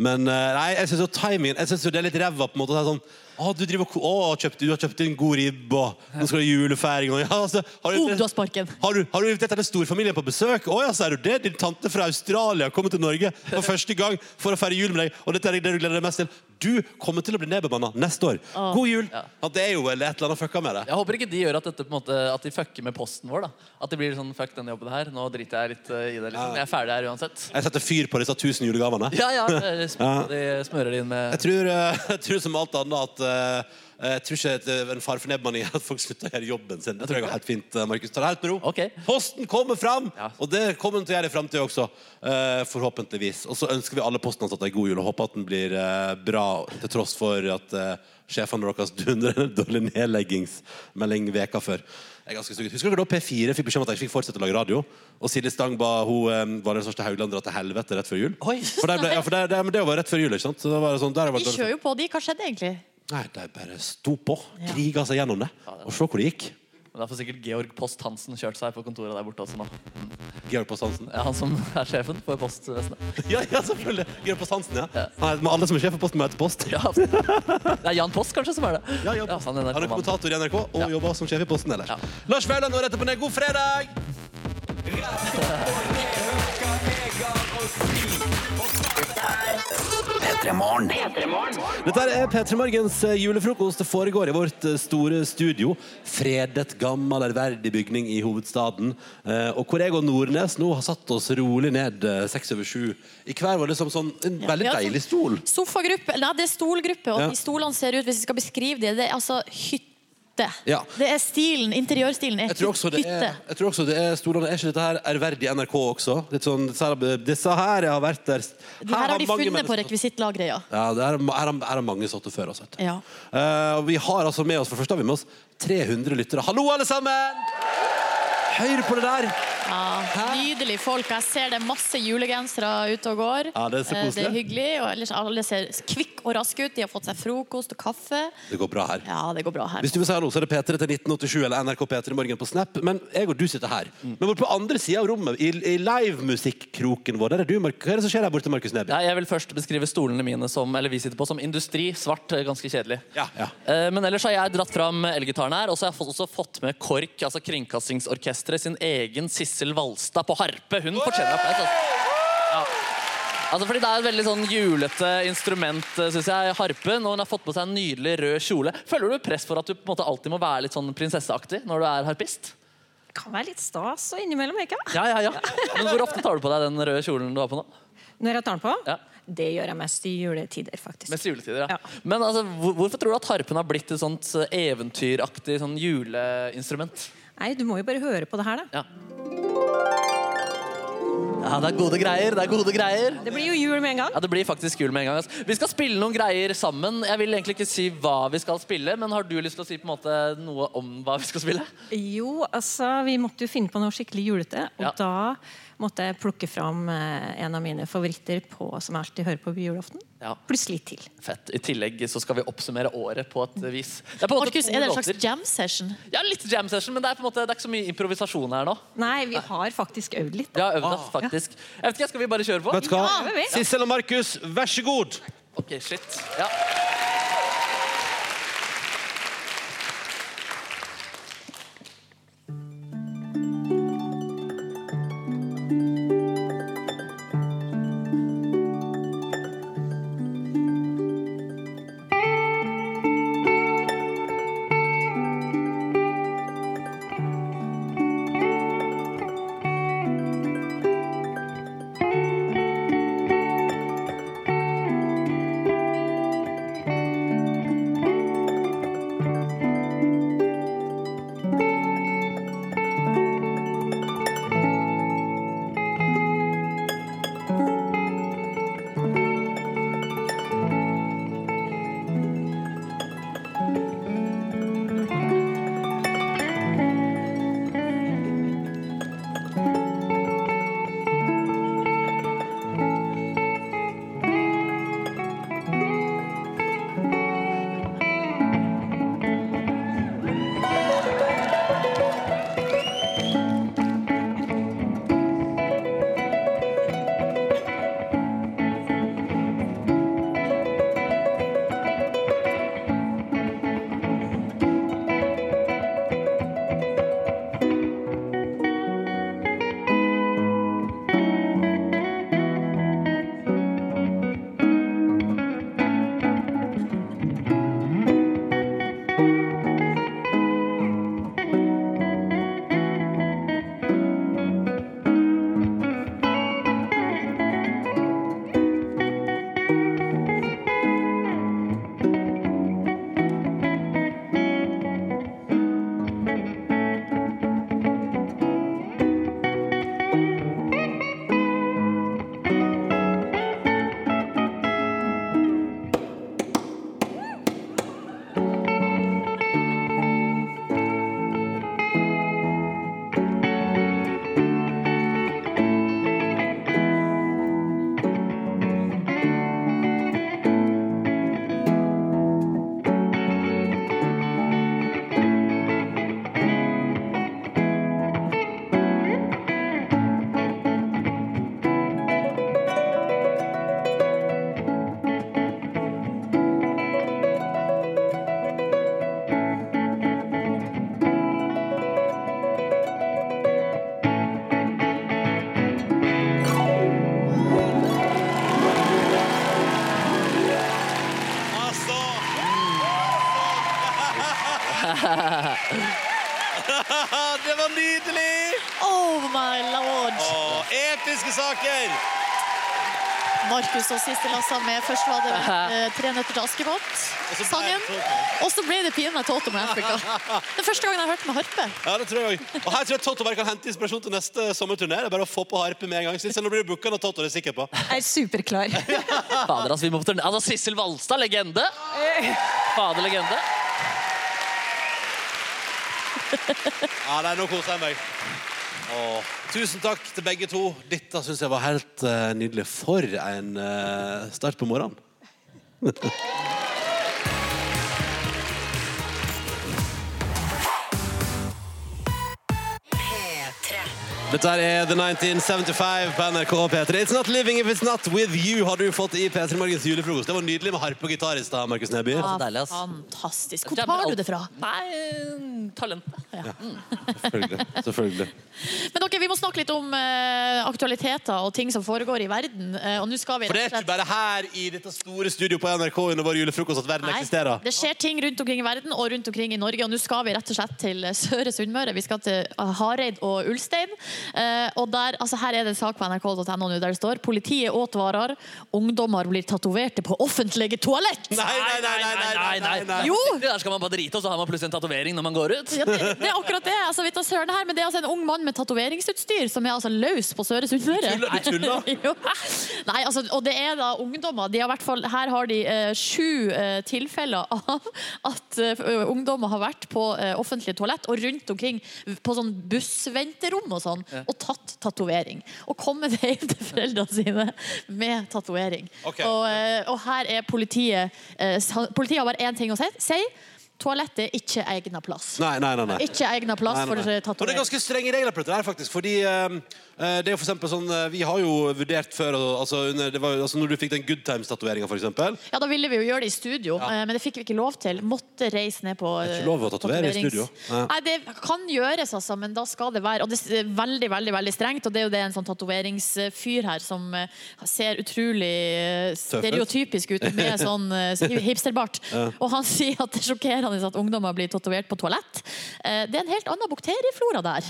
Men eh, nei, jeg syns jo timingen Jeg synes jo det er litt ræva på en måte. å si sånn, å, du, driver, og ko- å, kjøpte, du har kjøpt inn god ribbe, og nå skal du ha julefeiring og ja, altså, har,
Oh, du
du,
har sparken.
har, du, har du invitert hele storfamilien på besøk? Å ja, så er du det? Din tante fra Australia kommer til Norge for første gang for å feire jul med deg, og dette er det du gleder deg mest til. Du kommer til å bli nedbemanna neste år. God jul! Ja, det er jo vel et eller annet fucka med det.
Jeg håper ikke de gjør at, dette, på en måte, at de fucker med posten vår. da. At de blir sånn Fuck den jobben her. Nå driter jeg litt eh, i det. liksom. Jeg er ferdig her uansett.
Jeg setter fyr på disse 1000 julegavene.
Ja, ja. eh, sm- De smører det inn
Jeg
med
tror, eh, [laughs] jeg tror som alt annet at eh, jeg tror ikke at, eh, en far for nebben i at folk slutter å gjøre jobben sin. Det tror jeg går helt fint, eh, Markus. Ta det helt med ro.
Ok.
Posten kommer fram,
Ja.
og det kommer den til å gjøre i framtida også. eh, forhåpentligvis. Og så ønsker vi alle postansatte ei god jul og håper at den blir eh, bra, til tross for at eh, sjefene deres dundrer en dårlig nedleggingsmelding veka før. Jeg er ganske stygg. Husker dere da P4 fikk beskjed om at jeg ikke fikk fortsette å lage radio? Og Silje Stang ba hun eh, Valgerd Svarstad Haugland dra til helvete rett før jul?
Oi.
For der ble, ja, for der, der, men det var rett før jul, ikke sant? Så da var det sånn, der var
De
det dårlig-
kjører jo på, de. Hva skjedde egentlig?
Nei, de bare sto på, kriga seg gjennom det. Og se hvor det gikk.
Men Da får sikkert Georg Post Hansen kjørt seg på kontoret der borte også nå.
Georg Post Hansen.
Ja, han som er sjefen for postvesenet.
Ja, ja, selvfølgelig! Georg Post Hansen, ja. Nei, men alle som er sjef for Posten, må hete Post.
Ja. Det er Jan Post kanskje som er det.
Ja, Jan Post.
han er
Han er
NRK-mannen.
kommentator i NRK og jobber som sjef i Posten ellers.
Ja.
Lars Vauland og etterpå ned. God fredag!
P3morgen.
Dette er P3 Morgens eh, julefrokost. Det foregår i vårt eh, store studio. Fredet, gammel, ærverdig bygning i hovedstaden. Eh, Og hvor jeg og Nordnes nå har satt oss rolig ned eh, seks over sju. I hver var det som sånn en veldig
Ja, sånn-
altså,
deilig stol.
Sofagruppe, nei det er stolgruppe Og
Ja.
de stolene ser ut, hvis vi skal beskrive det Det er altså hytte
Ja.
Det er stilen, interiørstilen er
Jeg tror også det
hytte
er, jeg tror også det er stolene. Er ikke dette her ærverdig NRK også? Litt sånn, disse her, disse her har vært der
De her har de
mange
funnet på
mennesker-
rekvisittlagret, ja
Ja, det er, her har- her har mange satt det før. Altså.
Ja.
Eh, og vi har altså med oss, for først har vi med oss 300 lyttere. Hallo, alle sammen! Hør på det der!
Nydelig folk, jeg ser det er masse julegensere ute og går
Ja, det er så
Eh, Det er
koselig.
hyggelig, og ellers alle ser kvikk og rask ut De har fått seg frokost og kaffe
Det går bra her.
Ja, det går bra her
Hvis du vil si hallo, så er det P3 til 1987 eller NRK P3 i morgen på Snap. Men jeg og du sitter her. Men borte på andre sida av rommet, i, i livemusikkroken vår, der er du, Mark Hva er det som skjer her borte, Markus Neby?
Nei, jeg vil først beskrive stolene mine som eller vi sitter på som industri. Svart, eh, ganske kjedelig.
Ja, ja.
Eh, Men ellers har jeg dratt fram elgitaren her. Og så har jeg fått- også fått med KORK, altså Kringkastingsorkesteret, sin egen Sissel Valstad på harpe. Hun fortjener applaus. Altså. Altså fordi Det er et veldig sånn julete instrument, eh, synes jeg, harpen. Og hun har fått på seg en nydelig rød kjole. Føler du press for at du på en måte alltid må være litt sånn prinsesseaktig når du er harpist?
kan være litt stas og innimellom, ikke?
Ja, ja, ja. [laughs] Men Hvor ofte tar du på deg den røde kjolen du har på nå?
Når jeg tar den på?
Ja.
Det gjør jeg mest i juletider, faktisk.
Mest i juletider, ja.
Ja.
Men altså, hvor- hvorfor tror du at harpen har blitt et sånt eh, eventyraktig sånn juleinstrument?
Nei, du må jo bare høre på det her, da.
Ja. ja, det er gode greier. Det er gode greier.
Det blir jo jul med en gang.
Ja, Det blir faktisk jul med en gang. ass. Vi skal spille noen greier sammen. Jeg vil egentlig ikke si hva vi skal spille, men har du lyst til å si på en måte noe om hva vi skal spille?
Jo, altså, vi måtte jo finne på noe skikkelig julete, og
Ja.
da måtte jeg plukke fram eh, en av mine favoritter på, som jeg alltid hører på på julaften.
Ja.
Pluss litt til.
Fett. I tillegg så skal vi oppsummere året på et vis. Det er på en måte
Markus,
to
er det en
låter.
slags jam session?
Ja, litt jam session, men det er på en måte det er ikke så mye improvisasjon her nå.
Nei, vi har faktisk øvd litt.
Vi har øvd oss, faktisk. Jeg vet ikke, Skal vi bare kjøre på?
Vet du hva?
Ja, det vil vi.
Sissel og Markus, vær så god!
Ok, shit. Ja.
det var nydelig!
Oh my lord!
Åh, episke saker!
Markus og Sissel Hassan med først var det eh, 'Tre nøtter til Askepott'-sangen. Og så ble det pinadø Toto med Africa. Den første gangen jeg har hørt med harpe.
Ja, det tror jeg også. Og her tror jeg Totto bare kan hente inspirasjon til neste sommerturné. Det er bare å få på harpe med en gang. Sissel, nå blir du booka av Totto, det er jeg sikker på.
Jeg er superklar.
Fader, altså, vi må på turné. Altså, Sissel Valstad, legende. Fader, legende.
Ja, nei, nå koser jeg meg. Åh. Tusen takk til begge to. Dette syns jeg var helt eh, nydelig. For en eh, start på morgenen. Dette er The 1975 på NRK P3. It's not living if it's not with you, har du fått i P3 Morgens julefrokost. Det var nydelig med harpe og gitar i stad, Markus Neby.
Ja, Fantastisk. Hvor tar du det fra?
Nei, talentet.
Selvfølgelig. Selvfølgelig.
Men dere, vi må snakke litt om eh, aktualiteter og ting som foregår i verden. eh, og nå skal vi
For det er
rett og slett-
ikke bare her i dette store studioet på NRK under vår julefrokost at verden
Nei,
eksisterer.
Det skjer ting rundt omkring i verden og rundt omkring i Norge. Og nå skal vi rett og slett til eh, Søre Sunnmøre. Vi skal til eh, Hareid og Ulstein. Eh, og der, altså Her er det en sak på nrk.no nå der det står politiet åtvarer. Ungdommer blir tatoverte på offentlige toalett.
nei, nei, nei, nei, nei, nei.
Jo!
Det der skal man bare drite, og så har man plutselig en tatovering når man går ut.
Ja, det, det er akkurat det. Altså, vi tar søren her, men det er altså en ung mann med tatoveringsutstyr som er altså løs på Søre Sunnmøre.
Du tuller, du tuller.
[laughs] Jo. Nei, altså, og det er da ungdommer. De har hvert fall, her har de eh, sju eh, tilfeller [laughs] av at eh, ungdommer har vært på eh, offentlige toalett og rundt omkring på sånn bussventerom og sånn,
Ja.
og tatt tatovering. Og kommet hjem til foreldrene sine med tatovering.
Ok.
Og, eh, og her er politiet eh, sa- Politiet har bare én ting å si. si Toalettet er ikke egnet plass.
Nei, nei, nei, nei.
Ikke egnet plass
Nei, nei, nei. Og
for eh,
det er
tatovering.
ganske strenge regler på dette her, faktisk. Fordi eh, eh, det er jo for eksempel sånn eh, Vi har jo vurdert før og- altså, under, det var, jo- altså, Når du fikk den Good Times-tatoveringa, for eksempel.
Ja, Da ville vi jo gjøre det i studio, eh, men det fikk vi ikke lov til. Måtte reise ned på eh,
Det er ikke lov å tatovere i studio. Nei.
Nei, Det kan gjøres, altså, men da skal det være Og det er veldig veldig, veldig strengt. Og det er jo det en sånn tatoveringsfyr her som eh, ser utrolig eh,
Tøff ut.
stereotypisk ut med
[laughs]
sånn eh, hi- hipsterbart.
Ja.
Og han [laughs] sier at det er sjokkerende at ungdommer blir tatovert på toalett. Eh, Det er en helt annen bakterieflora der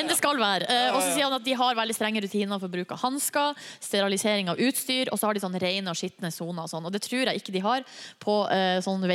enn det skal være. Eh, Og så sier han at de har veldig strenge rutiner for bruk av hansker, sterilisering av utstyr, og så har de sånn rene og skitne soner og sånn. Og det tror jeg ikke de har på eh, sånn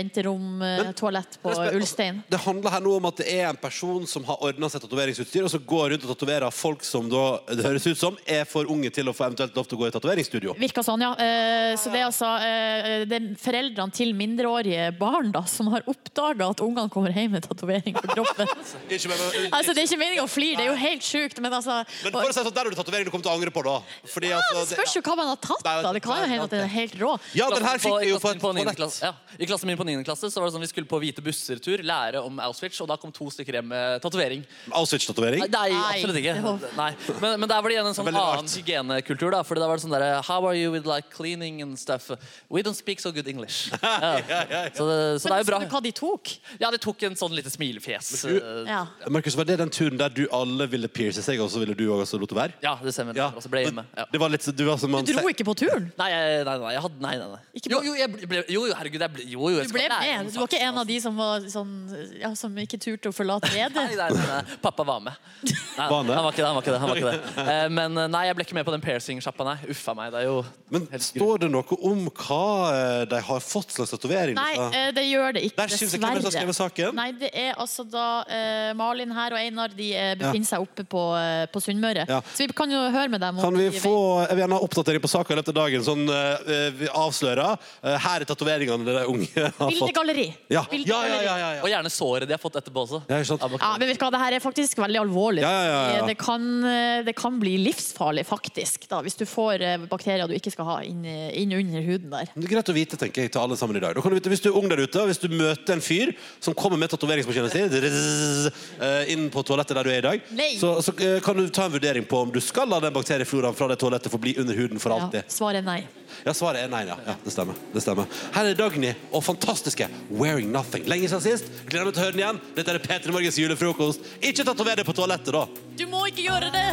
venteromtoalett på
Men-
Ulstein.
Det handler her nå om at det er en person som har ordna seg tatoveringsutstyr, og så går rundt og tatoverer folk som da, det høres ut som, er for unge til å få eventuelt lov til å gå i tatoveringsstudio.
Virka sånn, ja. Eh, Så det er altså eh, det er foreldrene til mindreårige barn da, som har oppdaga at ungene kommer hjem med tatovering på kroppen.
Ikke med, med,
Altså, Det er ikke meningen å flire, det er jo helt sjukt, men altså
men for å si det sånn, der har du tatovering du kommer til å angre på, da. Fordi,
ja,
altså,
Det spørs jo hva man har tatt, da. Det kan jo hende at den er helt rå.
Ja, den
Klassen
her
på-
fikk vi jo
klassen
på et
på niende
toalett.
klasse- ja. I klassen min på 9. klasse så var det sånn vi skulle på hvite busser-tur, lære om Auschwitz, og da kom to stykker hjem med tatovering.
Auschwitz-tatovering?
Nei, absolutt ikke. Nei. Men, men der var det igjen en sånn
Veldig rart.
annen hygienekultur. da, fordi da var det sånn der, How are you with like cleaning and stuff? We don't speak so good [laughs] English. Ja. Så, det, så liksom, det er jo bra.
liksom, hva de tok?
Ja, de tok en sånn lite smilefjes.
Men
eh,
Markus, var det den turen der du alle ville pierce seg, og så ville du også lot det være?
Ja, det stemmer. Og så ble jeg hjemme. Ja.
Det var litt, så- du var som man
Du dro
sier-
ikke på turen?
Nei, jeg- nei, nei, jeg hadde, nei, nei, nei. Jo, jo, jeg ble, jo, jo, herregud, jeg ble, jo, jo, jeg
Du
skal
ble
lære altså.
med.
noen
Du var ikke en av de som, var sånn, ja, som ikke turte å
[laughs]
forlate redet?
Nei, nei, nei, nei. Pappa var med. Nei,
Var han det?
han var ikke det. han var ikke det, han var ikke det. Eh, Men eh, nei, jeg ble ikke med på den piercing-sjappa, nei. Uffa meg. det er jo...
Men står det noe om hva eh, de har fått slags tatovering?
Nei,
liksom?
eh, det gjør det ikke,
Der synes jeg hvem er det som har skrevet saken?
Nei, det er altså da eh, Malin her og Einar de eh, befinner seg oppe på, eh, på Sunnmøre.
Ja.
Så vi kan jo høre med dem. om
Kan vi
de-
få, Jeg vil gjerne ha oppdatering på saken i løpet av dagen. Sånn, eh, vi avslører. Eh, her er tatoveringene de unge har fått.
Bildegalleri.
Ja.
Bildegalleri.
Ja, ja, ja, ja, ja.
Og gjerne såret de har fått etterpå også.
Ja, ikke sant?
Ja, men vet du hva, det her er faktisk veldig alvorlig.
Ja, ja, ja, ja.
Det, kan, eh, det kan bli livsfarlig, faktisk, da, hvis du får eh, bakterier du ikke skal ha inn, eh, inn under huden der.
Det er greit å vite tenker jeg, til alle sammen i dag. Da kan du vite, hvis du er ung der ute, og hvis du møter en fyr som kommer med tatoveringsmaskinen sin drrrr, eh, inn på toalettet der du er i dag,
Nei.
så, så eh, kan du ta en vurdering på om du skal la den bakteriefloraen fra det toalettet få bli under huden for
Ja,
alltid.
svaret er nei.
Ja, svaret er nei, ja. ja det, stemmer. det stemmer. Her er Dagny og fantastiske Wearing Nothing. Lenge siden sist. Gleder meg til å høre den igjen. Dette er P3 Morgens julefrokost. Ikke tatover deg på toalettet, da.
Du må ikke gjøre det!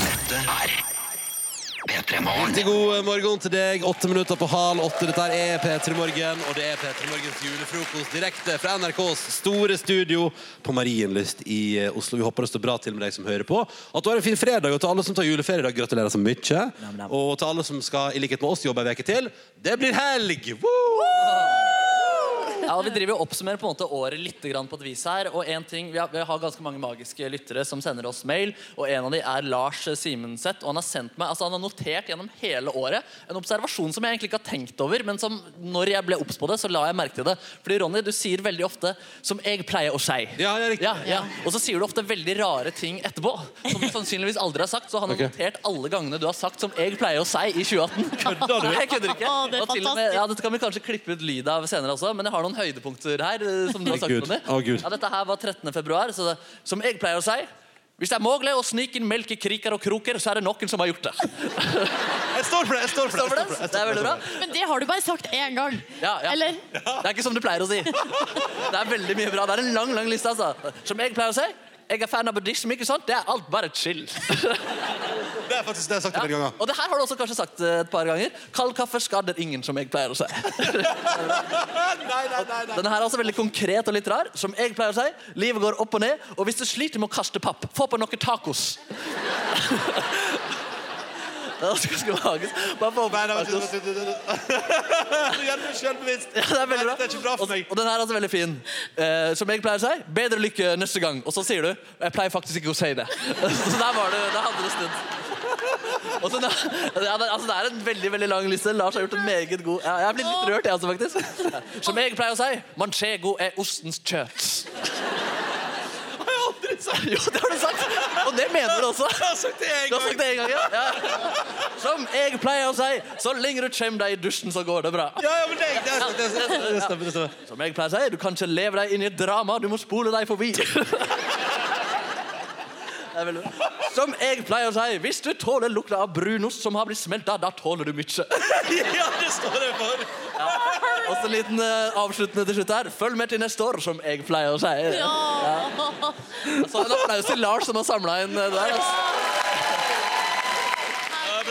Dette er
Riktig god eh, morgen til deg. Åtte minutter på hal åtte. Dette er P3 Morgen, og det er P3 Morgens julefrokost direkte fra NRKs store studio på Marienlyst i eh, Oslo. Vi håper det står bra til med deg som hører på. At du har en fin fredag, og til alle som tar juleferie i dag, gratulerer så mye. Og til alle som skal, i likhet med oss, jobbe ei uke til. Det blir helg! Woo!
Ja, og Vi driver jo oppsummerer på en måte året litt grann på et vis her. og en ting, vi har, vi har ganske mange magiske lyttere som sender oss mail. og En av de er Lars Simenseth. og Han har sendt meg, altså han har notert gjennom hele året en observasjon som jeg egentlig ikke har tenkt over, men som når jeg ble obs på det, så la jeg merke til det. Fordi Ronny, du sier veldig ofte 'som jeg pleier å si'.
Ja, det er riktig.
Ja, Og så sier du ofte veldig rare ting etterpå, som du sannsynligvis aldri har sagt. Så han har
Ok.
notert alle gangene du har sagt 'som jeg pleier å si' i 2018.
[laughs] Kødder du?
Nei, [laughs] jeg kødder ikke.
Å, det er
Og til og med, ja, dette kan vi kanskje klippe ut lyd av senere også, men jeg har noen høydepunkter her. eh, som du har sagt,
Å, Gud.
Ronny.
Å, Gud.
Ja, Dette her var 13. februar, så det, som jeg pleier å si hvis det er mulig å snike inn melk i kriker og kroker, så er det noen som har gjort det.
Jeg står for det! jeg står for det, jeg står for det, jeg står for
Det er veldig bra.
Men det har du bare sagt én gang.
Ja, ja.
Eller?
Det er ikke som du pleier å si. Det er veldig mye bra. Det er en lang lang liste. altså. Som jeg pleier å si, jeg er fan av buddhisme. ikke sant? Det er alt bare chill.
Det er faktisk det jeg har sagt
Ja.
flere ganger.
Og det her har du også kanskje sagt eh, et par ganger. Kald kaffe skader ingen, som jeg pleier å si.
nei, nei, nei, nei.
Denne her er også veldig konkret og litt rar. Som jeg pleier å si, livet går opp og ned. Og hvis du sliter med å kaste papp, få på noen tacos. [laughs] Det skal skal lages. Bare få på
Nei, nei,
tacos.
vent, vent, vent, vent, vent. [laughs] Du gjør det selvbevisst.
Ja, det er veldig bra.
Det er ikke bra for meg.
Og, og den her er altså veldig fin. Eh, som jeg pleier å si, bedre lykke neste gang. Og så sier du jeg pleier faktisk ikke å si det. [laughs] så der var det, der hadde det snudd. Og så da, ja, det, altså, det er en veldig veldig lang liste. Lars har gjort en meget god ja, Jeg blir litt rørt, jeg altså, faktisk. Ja. Som jeg pleier å si, manchego er ostens kjøtt. Har jeg aldri sagt Jo, det har du sagt. Og det mener du også.
Jeg har sagt det en
Du har
gang.
sagt det en gang, ja. ja. Som jeg pleier å si, så lenge du kommer deg i dusjen, så går det bra.
Ja, ja, men det, det, er sant, det, er sant, det, er sant, det, stemmer.
Som jeg pleier å si, du kan ikke leve deg inn i et drama, du må spole deg forbi. Det er veldig bra. Som jeg pleier å si, hvis du tåler lukta av brunost som har blitt smelta, da tåler du mye.
Ja, det står jeg for.
Og så en liten eh, avsluttende til slutt her. Følg med til neste år, som jeg pleier å si.
Ja.
Så en applaus til Lars som har samla inn eh, det der. Altså.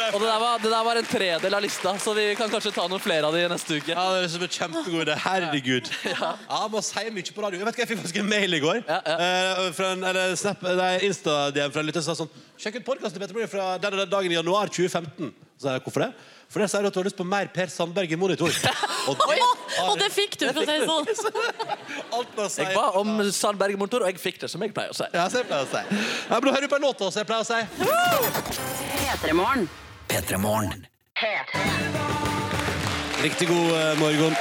Og det der, var, det der var en tredel av lista, så vi kan kanskje ta noen flere av de neste uke.
Ja, det er som en kjempegod idé. Herregud. Ja, Man sier mye på radio. Jeg vet ikke, jeg fikk faktisk en mail i går
Ja, ja.
eh, fra en eller snap, nei, Insta-DM fra en lytter som sa sånn Sjekk ut podkasten til Petter Morgen fra den og den dagen i januar 2015. Så sa jeg, hvorfor det? For det sier du at du har lyst på mer Per Sandberg i monitor. Og det
Og det fikk du, for å si det sånn.
alt man
Jeg
sier.
ba om Sandberg-motor, og jeg fikk det, som jeg pleier å si.
Ja, så jeg pleier å si. Ja, men da hører du på en låt, da, så jeg pleier å si.
P3morgen.
P3morgen.
Riktig god eh, morgen.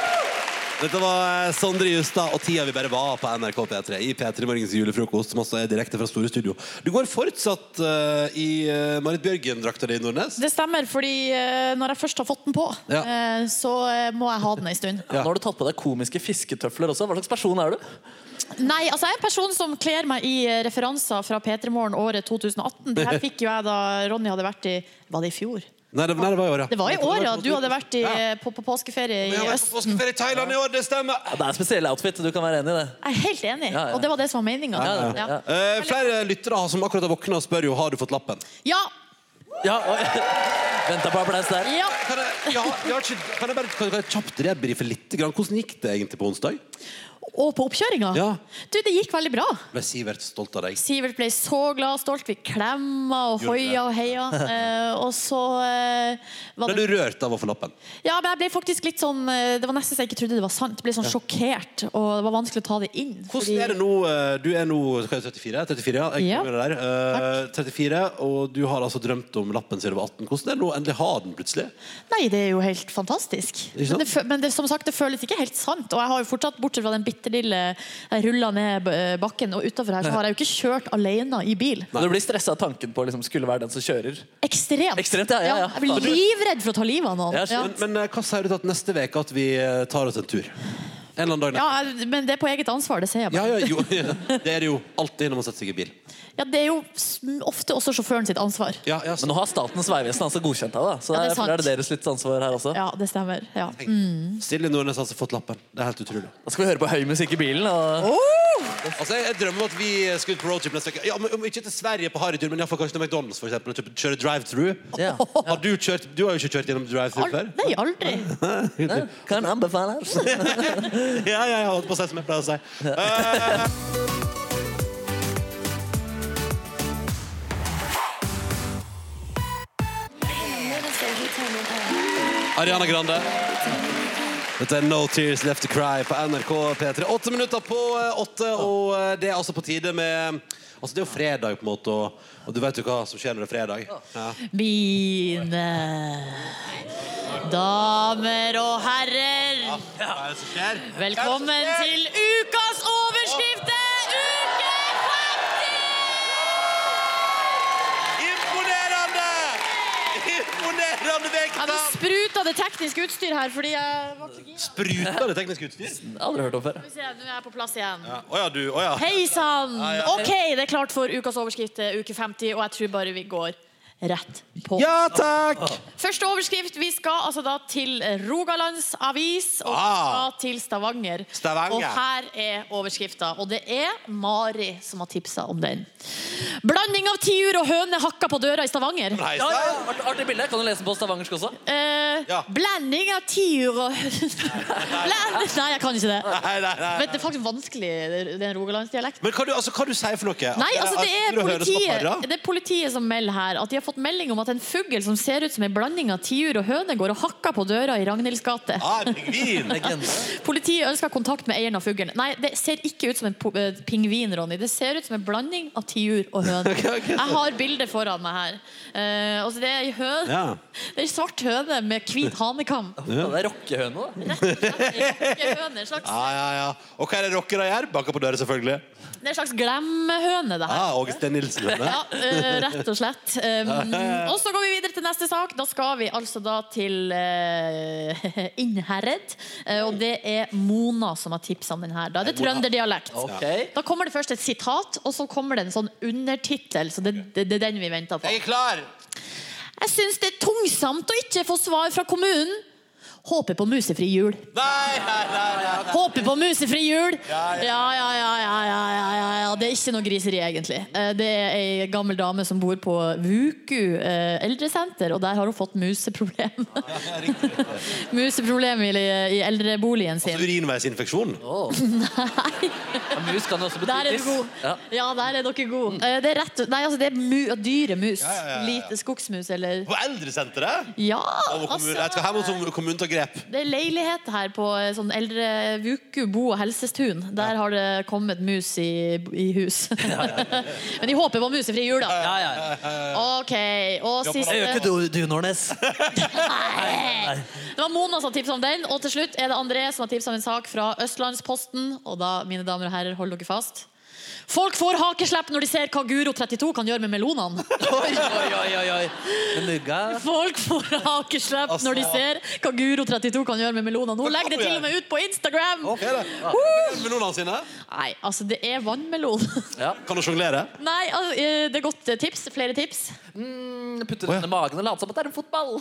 Dette var eh, Sondre Justad og tida vi bare var på NRK P3 i P3 Morgens julefrokost, som også er direkte fra Store Studio. Du går fortsatt eh, i eh, Marit Bjørgen-drakta di, Nordnes.
Det stemmer, fordi eh, når jeg først har fått den på,
Ja.
eh, så eh, må jeg ha den ei stund.
Nå har du tatt på deg komiske fisketøfler også. Hva slags person er du?
Nei, altså jeg er en person som kler meg i eh, referanser fra P3 Morgen året 2018. Det her fikk jo jeg da Ronny hadde vært i Var det i fjor?
Nei, det, nei, det var i år, ja.
Det var i år, ja. Du hadde vært i, eh, på, på påskeferie i
Jeg har vært
øst.
på påskeferie i Thailand i år, det stemmer!
Ja, det er en spesiell outfit. Du kan være enig i det.
Jeg er helt enig.
ja.
Og det var det som var meninga.
Ja, ja, ja.
Eh, flere lyttere som akkurat har våkna, spør jo har du fått lappen.
ja.
Ja, [laughs] oi. Venta på applaus der.
ja.
Kan jeg, ja, jeg har ikke, kan jeg bare kan jeg kjapt rebrife litt? grann? Hvordan gikk det egentlig på onsdag?
Og på oppkjøringa.
Ja.
Du, det gikk veldig bra.
Ble Sivert stolt av deg?
Sivert ble så glad og stolt. Vi klemma og
Gjorde det.
hoia og heia.
[laughs]
Eh, og så eh, var
Ble
det
du rørt av å få lappen?
Ja, men jeg ble faktisk litt sånn eh, Det var nesten så jeg ikke trodde det var sant. Jeg ble sånn sjokkert, og det var vanskelig å ta det inn.
Hvordan er det nå? eh, Du er nå hva er det, 34? 34, ja. Jeg
Ja.
kommer med det der. Eh, 34, og du har altså drømt om lappen siden du var 18. Hvordan er det nå? Endelig har den plutselig.
Nei, det er jo helt fantastisk.
Ikke sant?
Men, det, fø- men det, som sagt, det føles ikke helt sant. Og jeg har jo fortsatt, bortsett fra den bitte lille jeg rulla ned b- eh, bakken og utafor her, så har jeg jo ikke kjørt alene i bil.
Og Du blir stressa av tanken på å liksom, skulle være den som kjører.
Ekstremt.
Ekstremt, ja, ja, ja.
Jeg blir livredd for å ta livet av noen.
Jeg skjønner.
Ja.
Men, men eh, hva sier du til at neste uke at vi eh, tar oss en tur? En eller annen dag?
Ja,
neste-
jeg- men det er på eget ansvar, det ser jeg.
Ja,
bare.
ja, jo, [laughs] det er det jo alltid når man setter seg i bil.
Ja, det er jo s- ofte også sjåføren sitt ansvar.
Ja, ja,
Men nå har Statens vegvesen altså godkjent deg, da. Så
Ja, det er
derfor er det
sant.
deres litt ansvar her også.
Ja, det stemmer. Ja.
Silje Nordnes har altså fått lappen. Det er helt utrolig.
Da skal vi høre på høy musikk i bilen. Og...
Altså, jeg, jeg drømmer om at vi skulle ut på roadtrip neste uke. Ja, men, om ikke til Sverige på harrytur, men iallfall kanskje til McDonald's for eksempel, og kjøpe- kjøre drive-thru. Har du kjørt Du har jo ikke kjørt gjennom drive-thru før?
Nei, aldri.
Kan anbefales.
ja, ja, jeg holdt på å si som jeg pleier å si. Eh, Ariana Grande. Dette er No Tears Left to Cry på NRK P3. Åtte minutter på eh, åtte, og eh, det er altså på tide med Altså, det er jo fredag, på en måte, og, og du vet jo hva som skjer når det er fredag. Ja.
Mine damer og herrer. Velkommen til ukas overskrift! Uke
50! Imponerende! Imponerende
Ja, det spruta det tekniske utstyr her fordi jeg var så gira.
Spruta det tekniske utstyr?
Aldri hørt om før.
Skal vi se, Nå er jeg på plass igjen.
Ja. Å ja, du. Å ja.
Hei sann!
Ja, ja.
OK, det er klart for ukas overskrift, eh, uke 50, og jeg tror bare vi går rett på.
Ja takk!
Første overskrift. Vi skal altså da til Rogalands Avis og vi
Ah.
skal til Stavanger.
Stavanger.
Og her er overskrifta. Og det er Mari som har tipsa om den. Blanding av tiur og høne hakka på døra i Stavanger.
Ja, ja, art- Artig bilde. Kan du lese den på stavangersk også?
Eh,
Ja.
Blanding av tiur og Bland- Nei, jeg kan ikke det.
Nei, nei, nei.
Vet, du, det er faktisk vanskelig, det- det er en rogalandsdialekt.
Men hva, du, altså, hva du sier for noe?
Nei, altså det er,
At du høres på
politiet,
parra?
det er politiet som melder her at de har fått melding om at en fugl som ser ut som en blanding av tiur og høne, går og hakker på døra i Ragnhilds gate.
Ah, en pingvin. Legende.
Politiet ønsker kontakt med eieren av fuglen. Nei, det ser ikke ut som en po- eh, pingvin, Ronny. Det ser ut som en blanding av tiur og høne. Jeg har bildet foran meg her. Eh, altså det er ei høne.
Ja.
Det er ei svart høne med hvit hanekam.
Ja, Det er rockehøne, da.
Ikke høne, en slags,
Ja, ja, ja. Og hva er det rockere gjør? Banker på døra, selvfølgelig.
det er en slags glemmehøne, det her.
Ah, Åge Steen Nilsen. vet du.
Ja, eh, rett og slett. Um, og så går vi videre til neste sak. Da skal vi altså da til eh, [laughs] Innherred. Eh, og det er Mona som har tipsa om den her. Da er det
Mona.
trønderdialekt.
Ok.
Da kommer det først et sitat, og så kommer det en sånn undertittel. Så det, det, det er den vi venter på.
Jeg er klar!
Jeg syns det er tungsomt å ikke få svar fra kommunen. Håper på musefri jul.
Nei, nei, nei, nei.
Håper på musefri jul.
Ja,
Ja,
ja.
ja, ja, ja, ja, ja, ja, ja. Det er ikke noe griseri, egentlig. Eh, Det er ei gammel dame som bor på Vuku eh, eldresenter, og der har hun fått museproblem. [laughs] museproblem i, i eldreboligen sin.
Altså, Urinveisinfeksjon.
Ja, mus kan jo også bety
Der er du
tiss.
god.
Ja.
Ja, der er dere gode. Eh, Det er, rett, nei, altså, det er mu, dyre mus.
Mm. Ja, ja, ja, ja.
Lite skogsmus, eller
På eldresenteret?
Ja, altså.
Over kommunen. Jeg skal hjem hos kommunen ta grep.
Det er leilighet her på eh, sånn eldre Vuku bo- og helsestun. Der har det kommet mus i, i hus. [laughs] Men de håper på musefri jul, da. OK. Og siste
Det gjør ikke du, du Nordnes.
Det var Mona som tipsa om den. Og til slutt er det André som har tipsa om en sak fra Østlandsposten. Og da, mine damer og herrer, hold dere fast. Folk får hakeslepp når de ser hva Guro 32 kan gjøre med
[laughs]
melonene.
Oi, oi, oi, oi, oi. Men mugga
Folk får hakeslepp
Altså.
når de ser hva Guro 32 kan gjøre med melonene. Hun legger det til og med ut på Instagram!
Melonene sine?
Nei, altså, det er vannmelon. [laughs]
Kan du sjonglere?
Nei, altså, eh, det er godt eh, tips. Flere tips.
putter den i magen og later som at det er en fotball.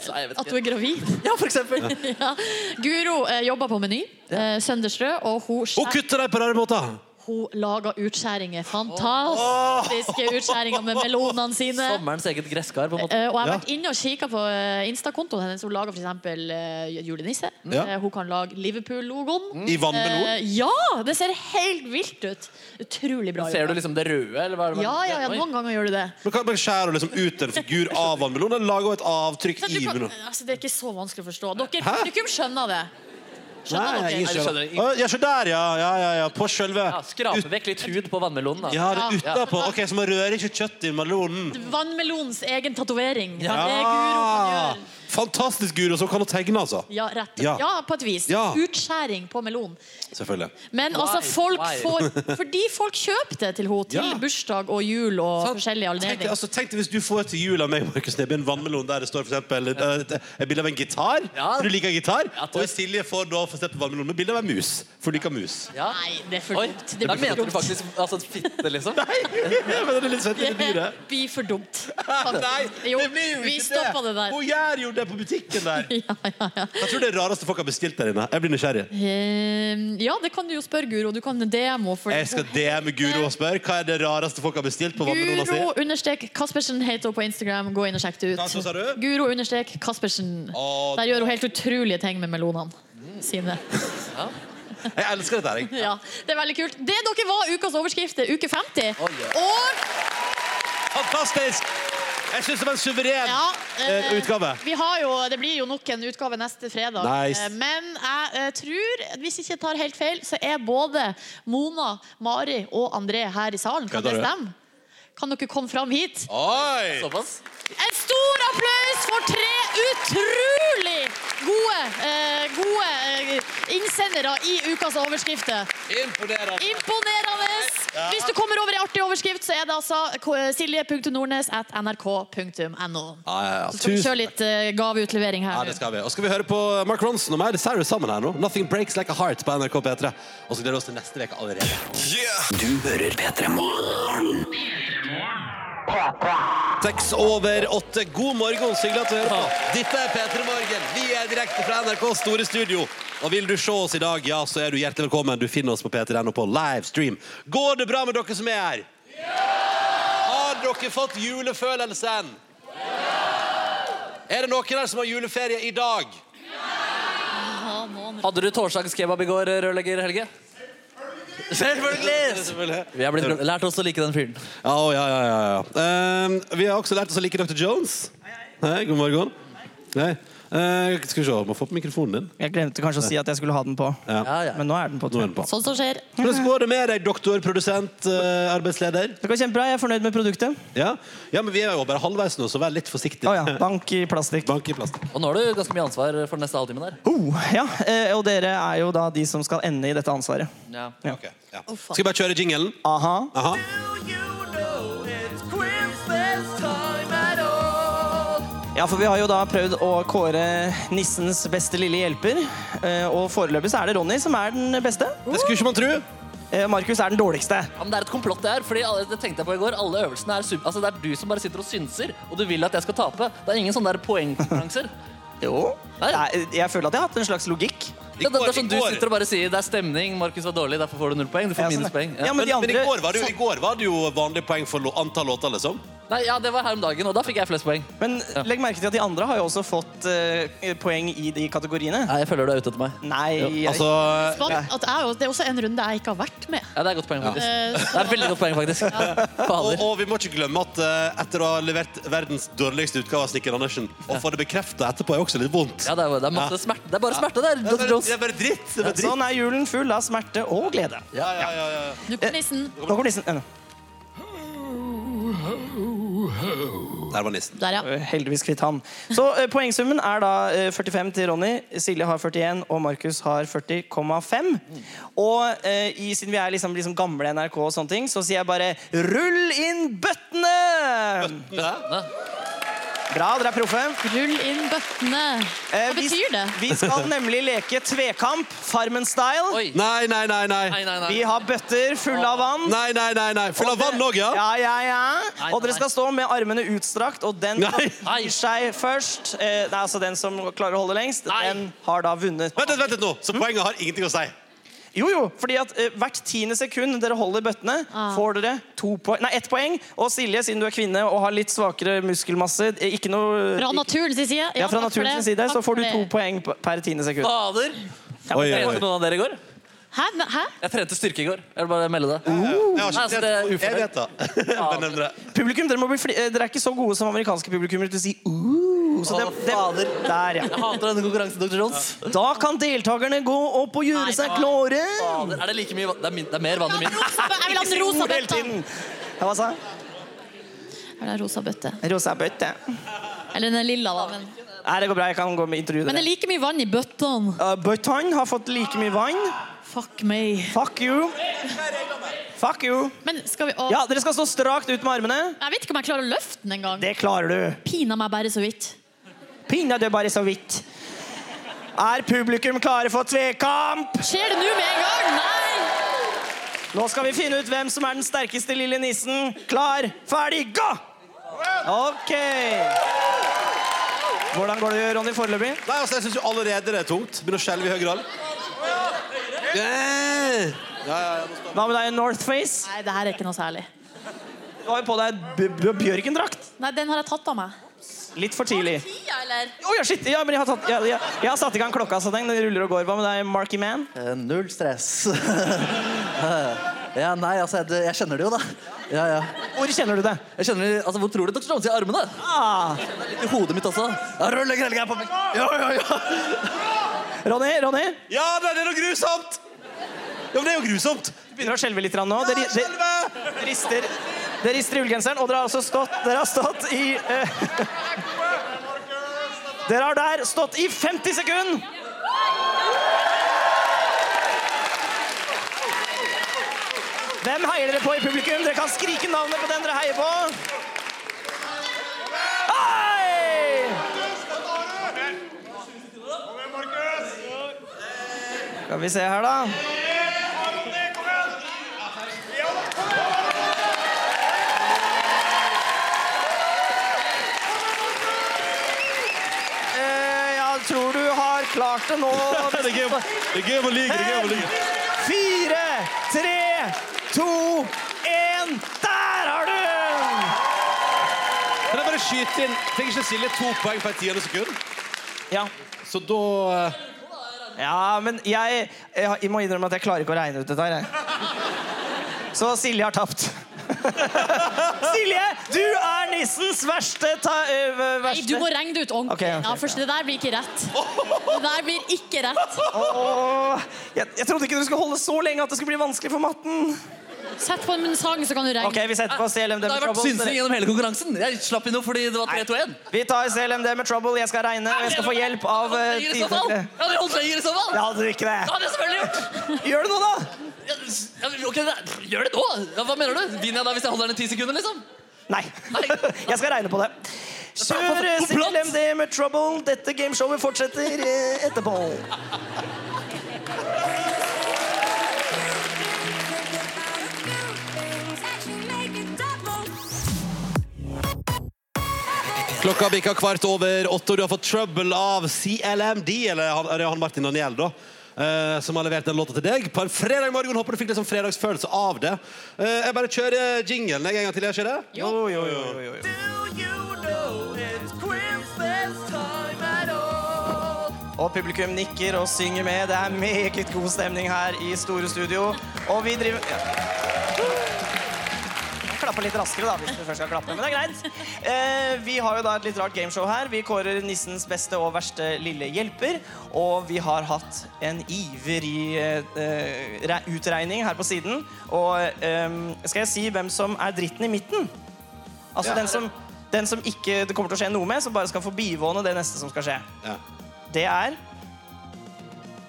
Så jeg vet
At hun er
ikke.
gravid.
[laughs] Ja, for eksempel.
[laughs] ja. Guro eh, jobber på Meny eh, Sønderstrø, og hun
Hun kutter deg på rare måter.
Hun lager utskjæringer. Fantastiske utskjæringer med melonene sine.
Sommerens eget gresskar, på en måte.
Eh, og jeg har vært inne og kikket på eh, Insta-kontoen hennes. Hun lager f.eks. Uh, julenisse.
Mm. Ja. Mm.
Eh, hun kan lage Liverpool-logoen.
I vannmelon?
Eh, ja! Det ser helt vilt ut. Utrolig bra.
Ser
jobba.
du liksom det røde, eller hva er det?
Ja, ja, ja,
Oi.
noen ganger gjør du det.
Men kan- men Skjærer du liksom ut en figur av vannmelonen? eller Lager hun et avtrykk
Så du
i
kan,
melonen?
altså, det er ikke så vanskelig å forstå. Dere
Hæ?
publikum skjønner det. Skjønner
Nei,
dere?
ingen skjønner. Å, Ja, så der, ja. ja, ja, ja. På sjølve
Ja, Skrape vekk litt hud på vannmelonen. da.
Ja, det er utapå. Ok, så man rører ikke kjøtt i melonen.
Altså, Vannmelonens egen tatovering.
Ja.
Det er Guro kan gjøre.
Fantastisk Guro, som kan hun tegne, altså.
Ja, rett.
Ja.
Ja. på et vis.
Ja.
Utskjæring på melon.
Selvfølgelig.
Men
Why?
altså, folk
Why?
får Fordi folk kjøper det til henne. Til
Ja. Sånn.
bursdag og jul og forskjellige
Tenk,
anledninger.
altså, tenk deg hvis du får til jul av meg Markus Neby, en vannmelon der det står for eksempel, eh, et et bilde av en gitar,
Ja.
for du liker gitar.
Ja,
og hvis Silje får da for eksempel vannmelon med bilde av en mus, for du liker mus. [laughs]
Ja.
Nei, det er for
Oi,
dumt. Det
da
blir for
mente du
dumt.
faktisk altså, fitte, liksom? [laughs] Nei,
men det er litt søtt,
Det blir for dumt. faktisk.
[laughs] Nei,
jo,
det blir jo
vi
ikke
stopper det der.
Hun gjør jo det er på butikken
[laughs]
der. Jeg tror det er rareste folk har bestilt der inne. Jeg blir nysgjerrig.
Eh, ja, det kan du jo spørre, Guro. Du kan DM henne. for-
Jeg skal DM Guro og spørre hva er det rareste folk har bestilt på vandrelona si.
Guro understrek Kaspersen heter hun på Instagram. Gå inn og sjekk det ut.
Hva så sa du?
Guro understrek Kaspersen. Der gjør hun helt utrolige ting med melonene sine.
Mm. Jeg elsker dette her, jeg.
Ja, Det er veldig kult. Det dere var ukas overskrifter, uke 50. Og
Fantastisk! Jeg syns det var en suveren
ja,
eh, utgave.
Vi har jo, det blir jo nok en utgave neste fredag.
Nice.
Eh, Men jeg eh, tror, hvis ikke jeg tar helt feil, så er både Mona, Mari og André her i salen. Kan det
Kødder du?
stemme? Kan dere komme fram hit?
Oi!
En stor applaus for tre utrolig gode, eh, gode eh, innsendere i ukas overskrifter.
Imponerende.
Imponerende! Hvis du kommer over en artig overskrift, så er det altså k- silje.nordnes at nrk.no.
Ja, ja, ja.
Så skal vi
Tusen-
kjøre litt eh, gaveutlevering
Ja,
her.
det
nå.
skal vi. Og skal vi høre på Mark Ronson og Miley Cyrus sammen her nå. Nothing Breaks Like a Heart på NRK P3. Og så gleder vi oss til neste uke allerede.
Du hører P3 Morgen.
Seks over åtte. God morgen, så hyggelig at du hører på. Dette er P3 Morgen. Vi er direkte fra NRKs store studio. Og vil du se oss i dag, ja, så er du hjertelig velkommen. Du finner oss på p3.no på livestream. Går det bra med dere som er her? Har dere fått julefølelsen? Er det noen her som har juleferie i dag?
Hadde du torsdagskebab i går, rørlegger Helge? Selvfølgelig! Vi har blitt lært oss å like den fyren.
Ja, å, ja, ja, ja, ja. Ehm, vi har også lært oss å like Dr. Jones. Hei, god morgen. Hei. Eh, skal vi se, må få på mikrofonen din.
Jeg glemte kanskje å si at jeg skulle ha den på. Men nå er den på.
Nå er den på.
Sånn som skjer.
Hvordan går det med deg, doktor, produsent, eh, arbeidsleder?
Det går kjempebra. Jeg er fornøyd med produktet.
Ja? ja, men vi er jo bare halvveis nå, så vær litt forsiktig. [laughs]
Bank i plastikk.
Bank i plastikk.
Og nå har du ganske mye ansvar for den neste halvtimen der.
Oh, ja, eh, Og dere er jo da de som skal ende i dette ansvaret.
Ja.
Ok, ja. Skal vi bare kjøre jingelen?
Aha.
Aha.
Ja, for vi har jo da prøvd å kåre nissens beste lille hjelper. eh, Og foreløpig så er det Ronny som er den beste. Eh,
Det skulle ikke man tro.
Markus er den dårligste.
Ja, men det er et komplott det her, fordi alle, det tenkte jeg på i går. Alle øvelsene er super... Altså, det er du som bare sitter og synser, og du vil at jeg skal tape. Det er ingen sånne der poengkonkurranser.
Jo. Jeg, jeg føler at jeg har hatt en slags logikk.
Det, det, det er sånn du sitter og bare sier det er stemning, Markus var dårlig, derfor får du null poeng. Du får
sånn,
minuspoeng.
men, men i, går var det, jo- i går var det jo vanlig poeng for lo- antall låter, liksom.
Nei, ja, det var her om dagen, og da fikk jeg flest poeng.
Men legg merke til at de andre har jo også fått eh, poeng i de kategoriene.
Nei, jeg føler du er ute etter meg.
Nei, jeg-
altså-
Spant at jeg, jo- det er også en runde jeg ikke har vært med.
Ja, det er et godt poeng, faktisk.
Eh,
Det er et veldig godt poeng, faktisk.
Og, og vi må ikke glemme at eh, etter å ha levert verdens dårligste utgave av Snikker Andersen, å få det bekreftet etterpå er også litt vondt.
Ja, det er, det er masse smerte. Det er bare smerte der, Dr. Jones.
Det er bare dritt. Det er bare dritt.
Sånn er julen full av smerte og glede.
Ja, ja, ja, ja. ja.
Nå kommer nissen.
Nå kommer nissen. Eh,
Der var nissen.
Der, ja.
Eh, Heldigvis kvitt han. Så eh, poengsummen er da eh, 45 til Ronny, Silje har 41 og Markus har 40,5. Og eh, i, siden vi er liksom, liksom gamle NRK og sånne ting, så sier jeg bare rull inn bøttene! Bra, dere er proffe.
Rull inn bøttene.
Eh,
Hva
vi-
betyr det?
Vi skal nemlig leke tvekamp, Farmen-style.
Oi.
Nei, nei, nei. nei.
Nei, nei, nei.
Vi har bøtter fulle av vann.
Nei, nei, nei, nei. Full av vann òg, ja?
Ja, ja, ja.
Nei,
Og dere
nei.
skal stå med armene utstrakt, og den
Nei.
gir seg først. Eh, Det er altså den som klarer å holde lengst.
Nei.
Den har da vunnet.
Vent litt, vent litt nå.
Hm?
Så poenget har ingenting å si.
Jo, jo, fordi at eh, hvert tiende sekund dere holder bøttene,
Ah.
får dere to poeng. Nei, ett poeng. Og Silje, siden du er kvinne og har litt svakere muskelmasse, eh, ikke noe
Fra naturens side. Ja,
ja, fra
takk for
naturens
det.
side,
Takk
så får
for
du
det.
to poeng p- per tiende sekund.
Fader!
Oi, oi,
Trente
oi.
noen av dere i går?
Hæ? Ne- Hæ?
Jeg trente styrke i går. Jeg vil bare melde det.
Jeg, har
Nei,
ikke
altså, det er
trent. jeg
ufornøyd.
vet det. [laughs] Bare nevner det.
Publikum, dere, må bli fli eh, dere er ikke så gode som amerikanske publikummere til å si uh, så dem- dem- Der, ja.
Jeg
[laughs]
hater denne konkurransen, Dr. Jones.
Da kan deltakerne gå opp og gjøre seg klare.
Fader, er det like mye vann? Det er, min, det er mer vann i min.
Jeg vil ha den rosa
Hele [laughs]
bøtta.
tiden. Ja, hva sa jeg?
Jeg vil ha rosa bøtte.
Rosa bøtte.
Eller den er lilla, da. Men,
Nei, det går bra. Jeg kan gå med intervju.
men det er
dere.
like mye vann i bøttene.
Uh, Bøttan har fått like mye vann.
Fuck meg.
Fuck you. Fuck you.
Men skal vi å,
Ja, dere skal stå strakt ut med armene.
Jeg vet ikke om jeg klarer å løfte den engang.
Det klarer du.
Pina meg bare så vidt.
Pinadø bare så vidt. Er publikum klare for tvekamp?
Skjer det nå med en gang? Nei!
Nå skal vi finne ut hvem som er den sterkeste lille nissen. Klar, ferdig, gå! OK. Hvordan går det, Ronny, foreløpig?
Nei, altså, Jeg syns jo allerede det er tungt. Begynner å skjelve i høy grad.
Hva med deg, Northface?
Nei, det her er ikke noe særlig.
Du har jo på deg b- b- Bjørkendrakt.
Nei, den har jeg tatt av meg.
Litt for tidlig.
Ja, eller?
Å ja, shit! Ja, men jeg har, tatt, jeg, jeg, jeg har satt i gang klokka, så den ruller og går. Hva med deg, Marky Man?
Eh, Null
[laughs]
stress. ja, nei, altså, jeg, jeg kjenner det jo, da. Ja, ja.
Hvor kjenner du det?
Jeg kjenner, det- altså, Hvor tror du det tok seg i armene?
Ah.
Jeg kjenner det litt i hodet mitt også. Ja, rulle grelling her på meg. Ja, ja, ja.
Ronny, Ronny?
Ja, det er noe grusomt! Ja, men det er jo grusomt.
Du begynner å skjelve litt grann nå. Dere, dere, dere, rister, dere rister i ullgenseren, og dere har altså stått, dere har stått i eh, [laughs] Dere har der stått i 50 sekunder! Hvem heier dere på i publikum? Dere kan skrike navnet på den dere heier på. Hei! Skal vi se her, da. Eh, jeg tror du har klart det nå.
[laughs] Det er gøy om- det er gøy om å lyge, det er gøy om å lyge.
Fire, tre, to, én. Der har du den!
Kan jeg bare skyte inn Tenk ikke Silje to poeng på et tiende sekund?
Ja.
Så da eh,
Ja, men jeg, jeg, jeg må innrømme at jeg klarer ikke å regne ut dette her. Jeg. Så Silje har tapt. [laughs] Silje, du er nissens verste, ta, ø, ø,
Nei,
verste.
du må regne det ut ordentlig.
Ok, ok,
ja, for Det der blir ikke
[laughs]
rett. Det der blir ikke rett.
Åh, jeg, jeg trodde ikke du skulle holde så lenge at det skulle bli vanskelig for matten.
Sett på en sang, så kan du regne.
Ok, vi setter på
Det
CLMD med
har vært
Trouble.
synsing
gjennom hele konkurransen. Jeg slapp inn noe fordi det var 3-2-1.
Vi tar CLMD med Trouble. Jeg skal regne, og jeg skal få hjelp av
eh,
uh,
Jeg hadde holdt lenger i så fall. Jeg hadde holdt lenger i så fall.
Jeg hadde ikke
Det hadde jeg
det.
selvfølgelig gjort.
Gjør det nå, da!
Ja, ja, ok, da- Gjør det nå! Ja, hva mener du? Vinner jeg da hvis jeg holder den i ti sekunder? liksom?
Nei. [laughs] Jeg skal regne på det. Kjør eh, CLMD med Trouble. Dette gameshowet fortsetter eh, etterpå.
Klokka bikka kvart over åtte, og du har fått trouble av CLMD, eller han, er det han Martin Daniel, da. eh, som har levert den låta til deg. På en fredag morgen håper du fikk litt sånn fredagsfølelse av det. Eh, jeg bare kjører jinglen jeg en gang til. Jeg kjører.
Jo, jo, jo, jo, jo. Og publikum nikker og synger med. Det er meget god stemning her i Store Studio. Og vi driver ja. Jeg klapper litt raskere, da, hvis du først skal klappe. Men det er greit. Eh, vi har jo da et litt rart gameshow her. Vi kårer nissens beste og verste lille hjelper. Og vi har hatt en ivrig eh, eh, re- utregning her på siden. Og eh, skal jeg si hvem som er dritten i midten? Altså
Ja.
den som, den som ikke det kommer til å skje noe med, som bare skal få bivåne det neste som skal skje.
Ja.
Det er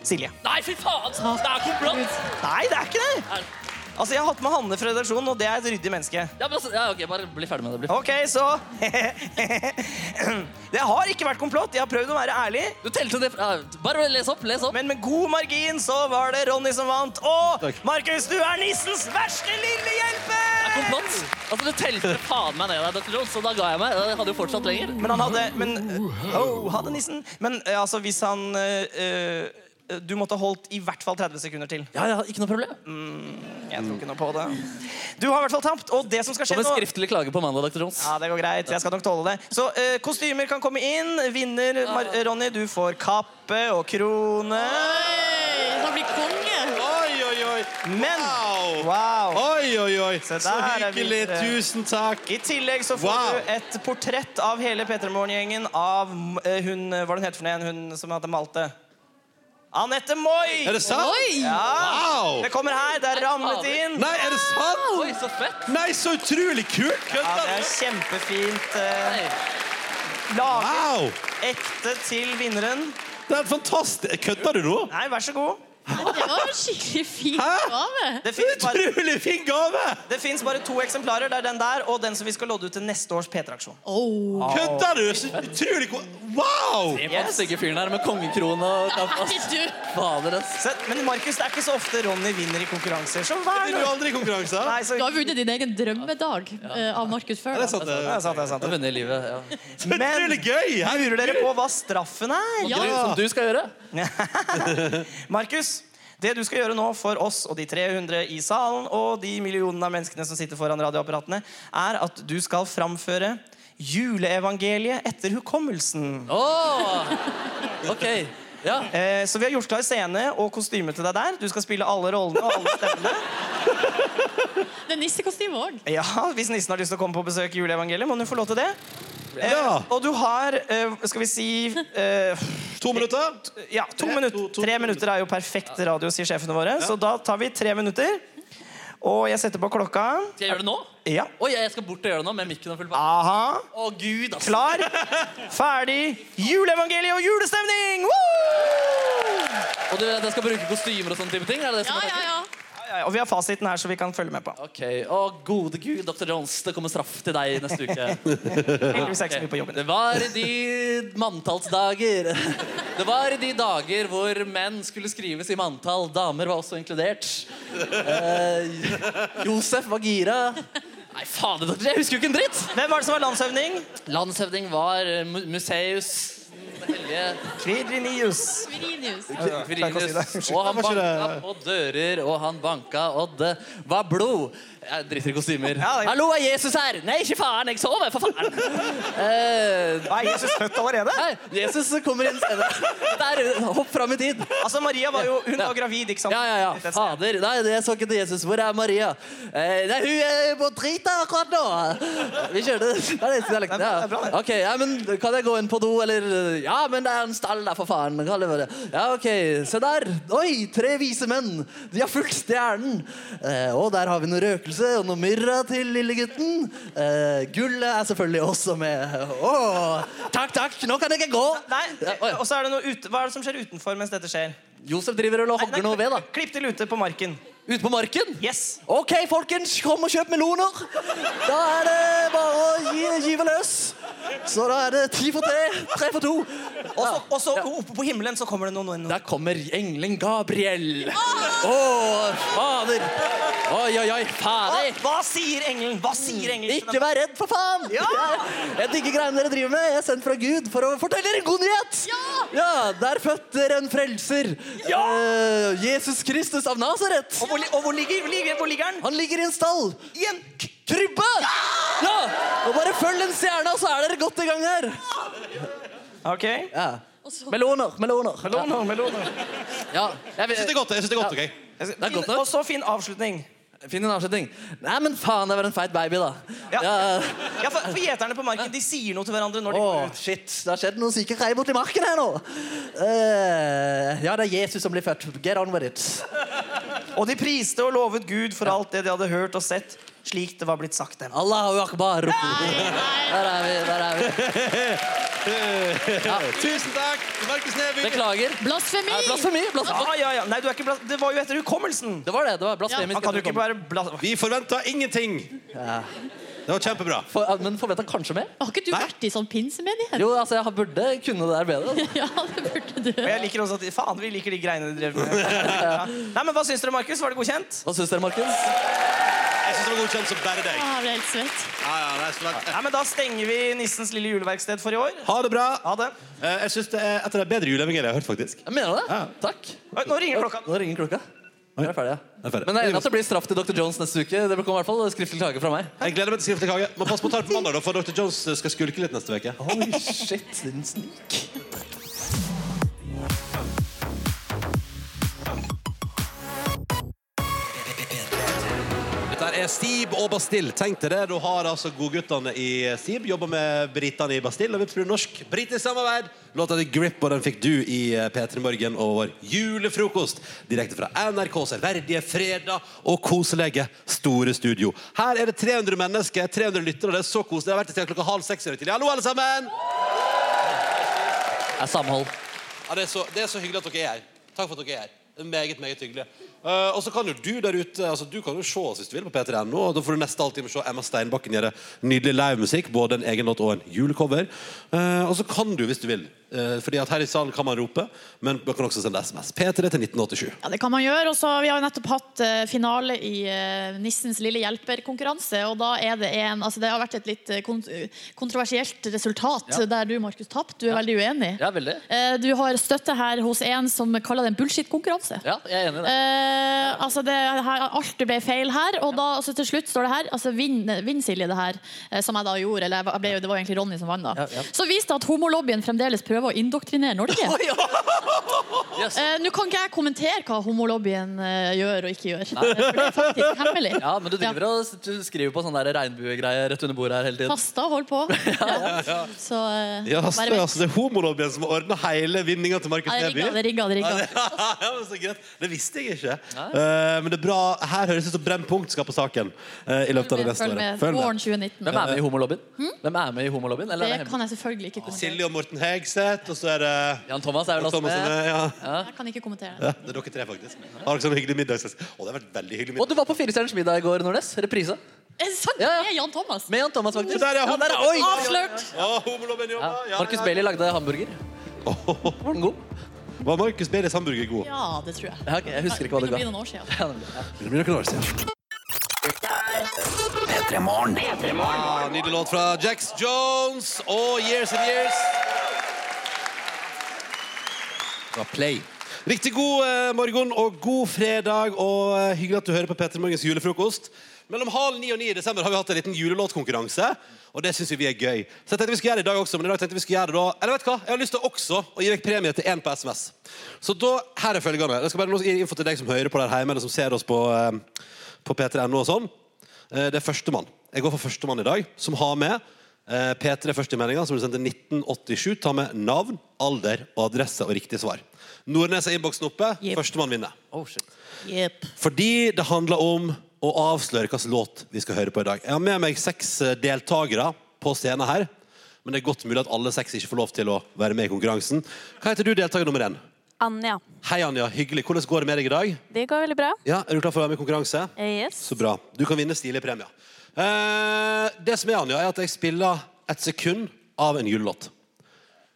Silje.
Nei, fy faen! Det er komplott!
Nei, det er ikke det! Altså, Jeg har hatt med Hanne fra redaksjonen, og det er et ryddig menneske.
Ja, men altså, ja, ok, Bare bli ferdig med det. Bli.
Ok, så [laughs] Det har ikke vært komplott. Jeg har prøvd å være ærlig.
Du telte det ja, Bare les opp. les opp
Men med god margin så var det Ronny som vant. Og Markus, du er nissens verste lille hjelper!
Det er komplott. Altså, Du telte faen meg ned der, Dr. Jones, så da ga jeg meg. Jeg hadde jo fortsatt lenger.
Men han hadde Men oh, hadde nissen. Men eh, altså, hvis han eh, eh, Du måtte holdt i hvert fall 30 sekunder til.
Ja, ja, ikke noe problem.
Mm.
Jeg tror ikke noe på det. Du har i hvert fall tapt, og det som skal skje
Som en
nå
skriftlig klage på mandag, Dr. Jones.
Ja, det går greit. Jeg skal nok tåle det. Så eh, kostymer kan komme inn. Vinner Mar eh, Ronny, du får kappe og krone.
Han blir konge.
Oi, oi, oi.
Men
Wow.
wow!
Oi, oi, oi.
Se,
Så
der er eh, vi.
hyggelig. Tusen takk.
I tillegg så får
Wow.
du et portrett av hele P3morgen-gjengen av eh, hun Hva var det hun het for noe igjen? Hun som heter Malte? Anette Moi!
Er det sant?
Oi!
Ja.
Wow.
Det kommer her. Det er ramlet inn.
Nei, er det sant?
Oi, så fett!
Nei, så utrolig kult!
Ja,
Kødder
det er
du?
kjempefint. eh,
Nei.
Laget
Wow!
ekte til vinneren.
Det er fantastisk. Kødder du nå?
Nei, vær så god.
Det var en skikkelig fin
Hæ?
gave.
Det finnes bare
Utrolig fin gave!
Det fins bare to eksemplarer. Det er den der og den som vi skal lodde ut til neste års P3-aksjon.
Oh.
Kødder du? Så utrolig ko- Wow!
Se på den stygge fyren her med kongekrone og kapp, ass. [laughs] Fader, ass.
Se, Men Markus, det er ikke så ofte Ronny vinner i konkurranser. Så vær
Vinner du aldri i konkurranser?
Nei, så...
Du har vunnet din egen drømmedag eh, av Markus før. da.
Det er sant, det er sant.
Jeg har vunnet i livet, ja.
Men lurer dere på hva straffen er?
Som du- Som du skal gjøre.
Markus, det du skal gjøre nå for oss og de 300 i salen og de millionene av menneskene som sitter foran radioapparatene, er at du skal framføre juleevangeliet etter hukommelsen.
Ok. Ja.
Eh, så vi har gjort klar scene og kostyme til deg der. Du skal spille alle rollene og alle stemmene.
Det er nissekostyme òg.
Ja, Hvis nissen har lyst til å komme på besøk i juleevangeliet, må hun få lov til det. Eh,
Ja.
Og du har, eh, skal vi si eh,
To minutter.
Ja, to minutter. Tre minutter er jo perfekt radio, sier sjefene våre. Så da tar vi tre minutter. Og jeg setter på klokka.
Skal jeg gjøre det nå?
Ja.
Oi, jeg skal bort og gjøre det nå med mikken og full pakke.
Aha.
Å, gud, ass.
Klar, ferdig, juleevangeliet og julestemning! Woo!
Og du, jeg skal bruke kostymer og sånne type ting? Er det det som
Ja,
er
ja,
tanken?
ja.
Ja, ja, Og vi har fasiten her, så vi kan følge med på.
Ok. Å, gode gud, Dr. Jones, det kommer straff til deg neste uke.
Heldigvis er jeg ikke så mye på jobben.
Det var i de manntallsdager. Det var i de dager hvor menn skulle skrives i manntall. Damer var også inkludert. Eh, Josef var gira. Nei, fader, dere, jeg husker jo ikke en dritt!
Hvem var det som var landshøvding?
Landshøvding var eh, Mu- Museus. den Hellige
Kvidrinius.
Virinius.
jeg ikke å si det.
Kvirinius. Og han banka på dører, og han banka, og det var blod. Jeg driter i kostymer.
Ja, det-
Hallo, er Jesus her? Nei, ikke faen, jeg sover, for
[laughs]
faen! Eh,
Nei, Jesus født allerede?
nei, Jesus kommer inn senere. Der, hopp fram i tid.
Altså, Maria var jo, hun var gravid, ikke sant?
Ja, ja, ja. Fader. Nei, jeg så ikke til Jesus. Hvor er Maria? Eh, nei, hun er på drita akkurat nå. Vi kjørte Det er det eneste dialekten.
Det er bra, det er
Ja.
bra,
Ok, ja, men Kan jeg gå inn på do, eller Ja, men det er en stall der, for faen. Kan det være? Ja, OK. Se der. Oi, tre vise menn. De har fulgt stjernen. Eh, og der har vi noe røkelse og noe myrra til lillegutten. Eh, gullet er selvfølgelig også med. Åh, takk, takk. Nå kan jeg ikke gå.
Nei,
Ja, oi.
og så er det noe ute, Hva er det som skjer utenfor mens dette skjer?
Josef driver og hogger noe ved, da.
Klipp til ute på marken.
Ute på marken.
Yes.
Ok, folkens, kom og kjøp meloner. Da er det bare å gi, give løs. Så da er det ti for tre, tre for to.
Og så, og så oppe på himmelen så kommer det noen. noen, noen.
Der kommer engelen Gabriel. Å, fader. Oi, oi, oi.
Hva,
Fader.
hva sier engelen? Hva sier engelen?
Ikke vær redd, for faen!
Ja!
[laughs] Jeg- Jeg digger greiene dere driver med. Jeg er sendt fra Gud for å fortelle dere en god nyhet!
Ja!
Der føtter en frelser. Eh, Jesus Kristus av Nasaret.
Og hvor, li- og hvor, ligger, hvor, ligger, hvor ligger den?
Han ligger i en stall.
I en k-
Krybbe! Ja! Og bare følg den stjerna, så er dere godt i gang her.
Ok.
Ja. Meloner, meloner.
Meloner, meloner.
Ja. Jeg
Jeg synes det er
vil,
godt. jeg synes det er godt, ok?
er godt nok.
Og så fin avslutning.
finn en avslutning. Nei, men faen, det var en feit baby, da.
Ja.
Ja.
Ja, for, for Gjeterne på marken de sier noe til hverandre når de
Å,
går ut.
shit. Det har skjedd noen syke rei borti marken her nå. Eh, ja, det er Jesus som blir født. Get on with it.
Og de priste og lovet Gud for alt det de hadde hørt og sett, slik det var blitt sagt dem.
Allahu akbar.
Nei,
Der er vi. der er vi.
Tusen takk, Markus Neby.
Beklager.
Blasfemi!
Nei, Blasfemi. blasfemi.
Ja, ja, ja. Nei, du er ikke blas det var jo etter hukommelsen!
Det var det. det var
Han
blasfemisk.
kan jo ikke være blas...
Vi forventa ingenting. Det var kjempebra.
For, men forventa kanskje mer?
Har ikke du
Nei.
vært i sånn pinsemenighet?
Jo, altså, jeg burde kunne det der bedre.
[laughs] Ja, det burde du.
Og jeg liker også at de, Faen, vi liker de greiene de drev med. Ja. Nei, men Hva syns dere, Markus? Var det godkjent?
Hva syns dere, Markus?
Jeg synes det var godkjent som bare deg.
Ah, Jeg ble helt svett.
Ja, ja, nei, så vent.
Nei, men Da stenger vi Nissens lille juleverksted for i år.
Ha det bra.
Ha det.
Eh, Jeg synes det er et av de bedre juleevangeliene jeg har hørt, faktisk.
Jeg mener det.
Ja.
Takk.
Oi, nå ringer klokka.
Nå ringer klokka. Nå er jeg ferdig, ja.
Jeg er ferdig.
Men jeg regner at det blir straff til Dr. Jones neste uke. Det kommer i hvert fall skriftlig klage fra meg.
Jeg gleder meg til skriftlig kake. Men pass på å ta det på mandag, da, for Dr. Jones skal skulke litt neste uke.
Holy shit, din snik.
Dette er Stib og Bastille. Tenk deg det. Du har altså godguttene i Stib, jobber med britene i Bastille, og vi prøver norsk-britisk samarbeid. Låta til Grip, og den fikk du i eh, P3 Morgen og vår julefrokost. Direkte fra NRKs ærverdige fredag og koselige store studio. Her er det 300 mennesker, 300 lyttere, og det er så koselig. Det har vært til klokka halv seks i dag tidlig. Hallo, alle sammen!
Er samhold.
Ja, det, er så, det er så hyggelig at dere er her. Takk for at dere er her. Meget, meget hyggelig. Eh, og så kan jo du der ute altså, Du kan jo se oss hvis du vil på p3.no. og Da får du neste halvtime se Emma Steinbakken gjøre nydelig livemusikk. Både en egen låt og en julecover. Eh, og så kan du, hvis du vil, eh, Fordi at her i salen kan man rope, men man kan også sende SMS. P3 til 1987.
Ja, det kan man gjøre. Og så Vi har jo nettopp hatt eh, finale i eh, Nissens lille hjelper-konkurranse. og da er Det en, altså det har vært et litt eh, kon kontroversielt resultat,
Ja.
der du Markus, tapte. Du er veldig uenig.
Ja, veldig.
Eh, Du har støtte her hos en som kaller det en bullshit-konkurranse.
Ja, jeg er enig i det.
Eh, altså det her, alt ble feil her, og da, altså til slutt står det her altså Vinn vinn Silje det her, eh, som jeg da gjorde. Eller jeg var- jeg ble, jo- det var jo egentlig Ronny som vant, da. Så viste det at homolobbyen fremdeles prøver å indoktrinere Norge. [laughs] Eh, Nå kan ikke jeg kommentere hva homolobbyen eh, gjør og ikke gjør. Eh, For det er faktisk hemmelig.
Ja, men du driver og s- du skriver på sånne der regnbuegreier rett under bordet her hele tiden.
Fasta, hold
[laughs]
på. Så eh,
Ja, altså,
bare vent.
altså, det er homolobbyen som har ordna hele vinninga til Markus
Ja, det
Neby.
rigga, det rigga, det rigga.
Ja, [laughs] ja, men så greit. Det visste jeg ikke. Eh, men det er bra. Her høres det ut som Brennpunkt skal på saken eh, i løpet av det neste
Følg
året.
med. Våren 2019.
Hvem er med i
homolobbyen? Hvem er med i homolobbyen? Eller er
Det
det
kan jeg selvfølgelig ikke kommentere.
Silje og Morten Hegseth, og så er det
Jan Thomas er vel også
er
med.
ja.
Jeg kan ikke kommentere det.
Ja, det er dere tre, faktisk. Har dere sånn hyggelig middag? Å, det har vært veldig hyggelig
hemmelig? Og du var på Firestjerners middag i går, Nordnes. Reprise.
Er det sant? Med Jan Thomas?
Med Jan Thomas, faktisk.
Så der, ja,
ja, der er, oi!
Avslørt!
Ja, homolobbyen jobber. Ja,
Marcus
ja,
Bailey lagde hamburger. Var den god?
Var Markus Baileys hamburger god?
Ja, det tror jeg.
Ja, ok, jeg husker ikke hva det
Det
ga.
blir noen år siden.
Ja, nemlig, ja.
Det blir noen år siden. Ja, nydelig låt fra Jax Jones og Years and Years. Fra Play. Riktig god eh, morgen og god fredag, og eh, hyggelig at du hører på Petter Morgens julefrokost. Mellom halv ni og ni i desember har vi hatt en liten julelåtkonkurranse, og det syns vi er gøy. Så jeg tenkte vi skulle gjøre det i dag også, men i dag tenkte vi skulle gjøre det da Eller vet du hva, jeg har lyst til også å gi vekk premie til én på SMS. Så da, her er følgende. Jeg skal bare nå gi info til deg som hører på der hjemme, eller som ser oss på, eh, på p3.no og sånn. Eh, Det er førstemann. Jeg går for førstemann i dag, som har med eh, P3 først i meldinga, som du sendte 1987. Ta med navn, alder og adresse og riktig svar. Nordnes er innboksen oppe. Førstemann vinner.
Oh,
Jepp.
Fordi det handler om å avsløre hvilken låt vi skal høre på i dag. Jeg har med meg seks eh, deltakere på scenen her. Men det er godt mulig at alle seks ikke får lov til å være med i konkurransen. Hva heter du, deltaker nummer én?
Anja.
Hei, Anja. Hyggelig. Hvordan går det med deg i dag?
Det går veldig bra.
Ja, Er du klar for å være med i konkurranse?
Eh, Yes.
Så bra. Du kan vinne stilige premier. Eh, det som er, Anja, er at jeg spiller et sekund av en julelåt.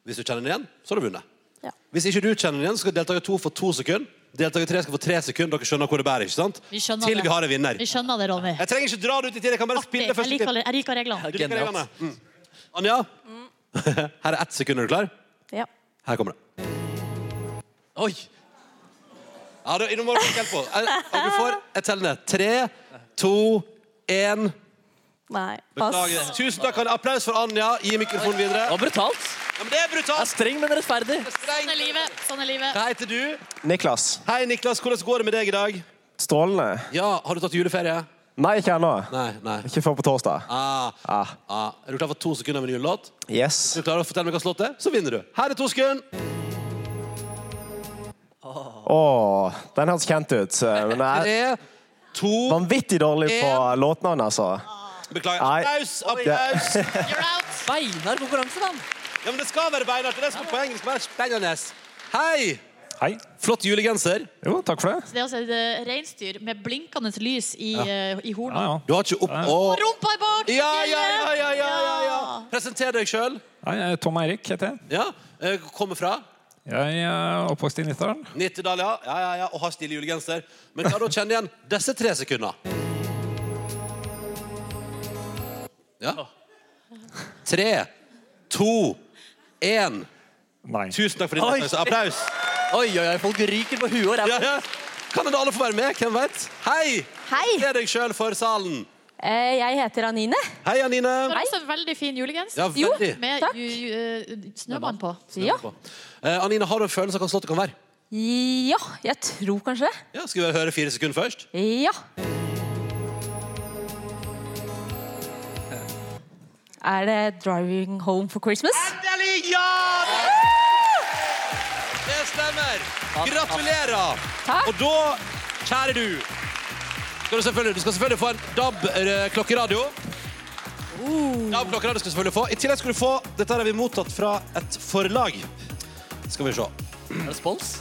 Hvis du kjenner den igjen, så har du vunnet. Hvis ikke du kjenner den igjen, så skal deltaker to få to sekunder. Deltaker tre skal få tre sekunder. Dere skjønner hvor det bærer, ikke sant?
Vi skjønner
Til
det.
vi har en vinner.
Vi skjønner det, Ronny.
Jeg trenger ikke dra det ut i tid. Jeg kan bare spille
Jeg
først.
liker, jeg liker reglene.
Du liker reglene? Mm. Anja, [laughs] her er ett sekund. Er du klar?
Ja.
Her kommer det.
Oi!
Ja, du, nå må du ikke på. Eh, Og du får Jeg teller ned. Tre, to, én.
Nei.
Beklager.
Pass.
Tusen takk. En applaus for Anja. Gi mikrofonen videre. Det
var brutalt.
Ja, men det er brutalt.
streng, men rettferdig.
Sånn er livet. Sånn er livet.
Hva heter du?
Niklas.
Hei, Niklas. Hvordan går det med deg i dag?
Strålende.
Ja, Har du tatt juleferie?
Nei, ikke ennå. Ikke før på torsdag.
Ah. Ah. Er du klar for to sekunder med en julelåt?
Yes.
Hvis du klarer å fortelle meg hva slått er, så vinner du. Her er to sekunder.
Åh, den hørtes kjent ut. eh, Men jeg
er
vanvittig dårlig på låtnavn, altså.
Beklager.
Nei.
Applaus! Applaus!
Det-
Beinar konkurranse, mann.
Ja, men det skal være beinhardt. Det er det som er poenget. Det skal være spennende. Hei!
Hei.
Flott julegenser.
Jo, takk for det.
Det er altså et eh, reinsdyr med blinkende lys i,
Ja.
eh, i hornet.
Du har ikke opp... Å.
Og rumpa i bak!
Ja, ja, ja, ja, ja, ja, ja. Presenter deg sjøl.
Hei, Tom Eirik heter jeg.
Ja. eh, Kommer fra
Jeg er oppvokst i Nittedal.
Nittedal, ja. ja, ja, ja. Og har stille julegenser. Men hva da kjenner igjen disse tre sekundene? Ja. Tre, to, én. Tusen takk for din
Oi.
deltakelse. Applaus.
Oi, oi, oi, folk ryker på huet og
Ja, ja. Kan det da alle få være med? Hvem vet? Hei!
Hei!
Se deg sjøl for salen.
Eh, Jeg heter Anine.
Hei, Anine.
Du har også en veldig fin julegenser.
Ja, veldig.
Med ju, ju, eh, snømann på.
Ja.
Eh, Anine, har du en følelse av hva slottet kan være?
ja, jeg tror kanskje det.
Ja, skal vi høre fire sekunder først?
Ja. Er det 'Driving Home for Christmas'?
Endelig! Ja! Det stemmer. Gratulerer. Og da, kjære du skal du, selvfølgelig, du skal selvfølgelig få en DAB-klokkeradio. DAB-klokkeradio skal du selvfølgelig få. I tillegg skal du få Dette her har vi mottatt fra et forlag. Skal vi se.
Respons?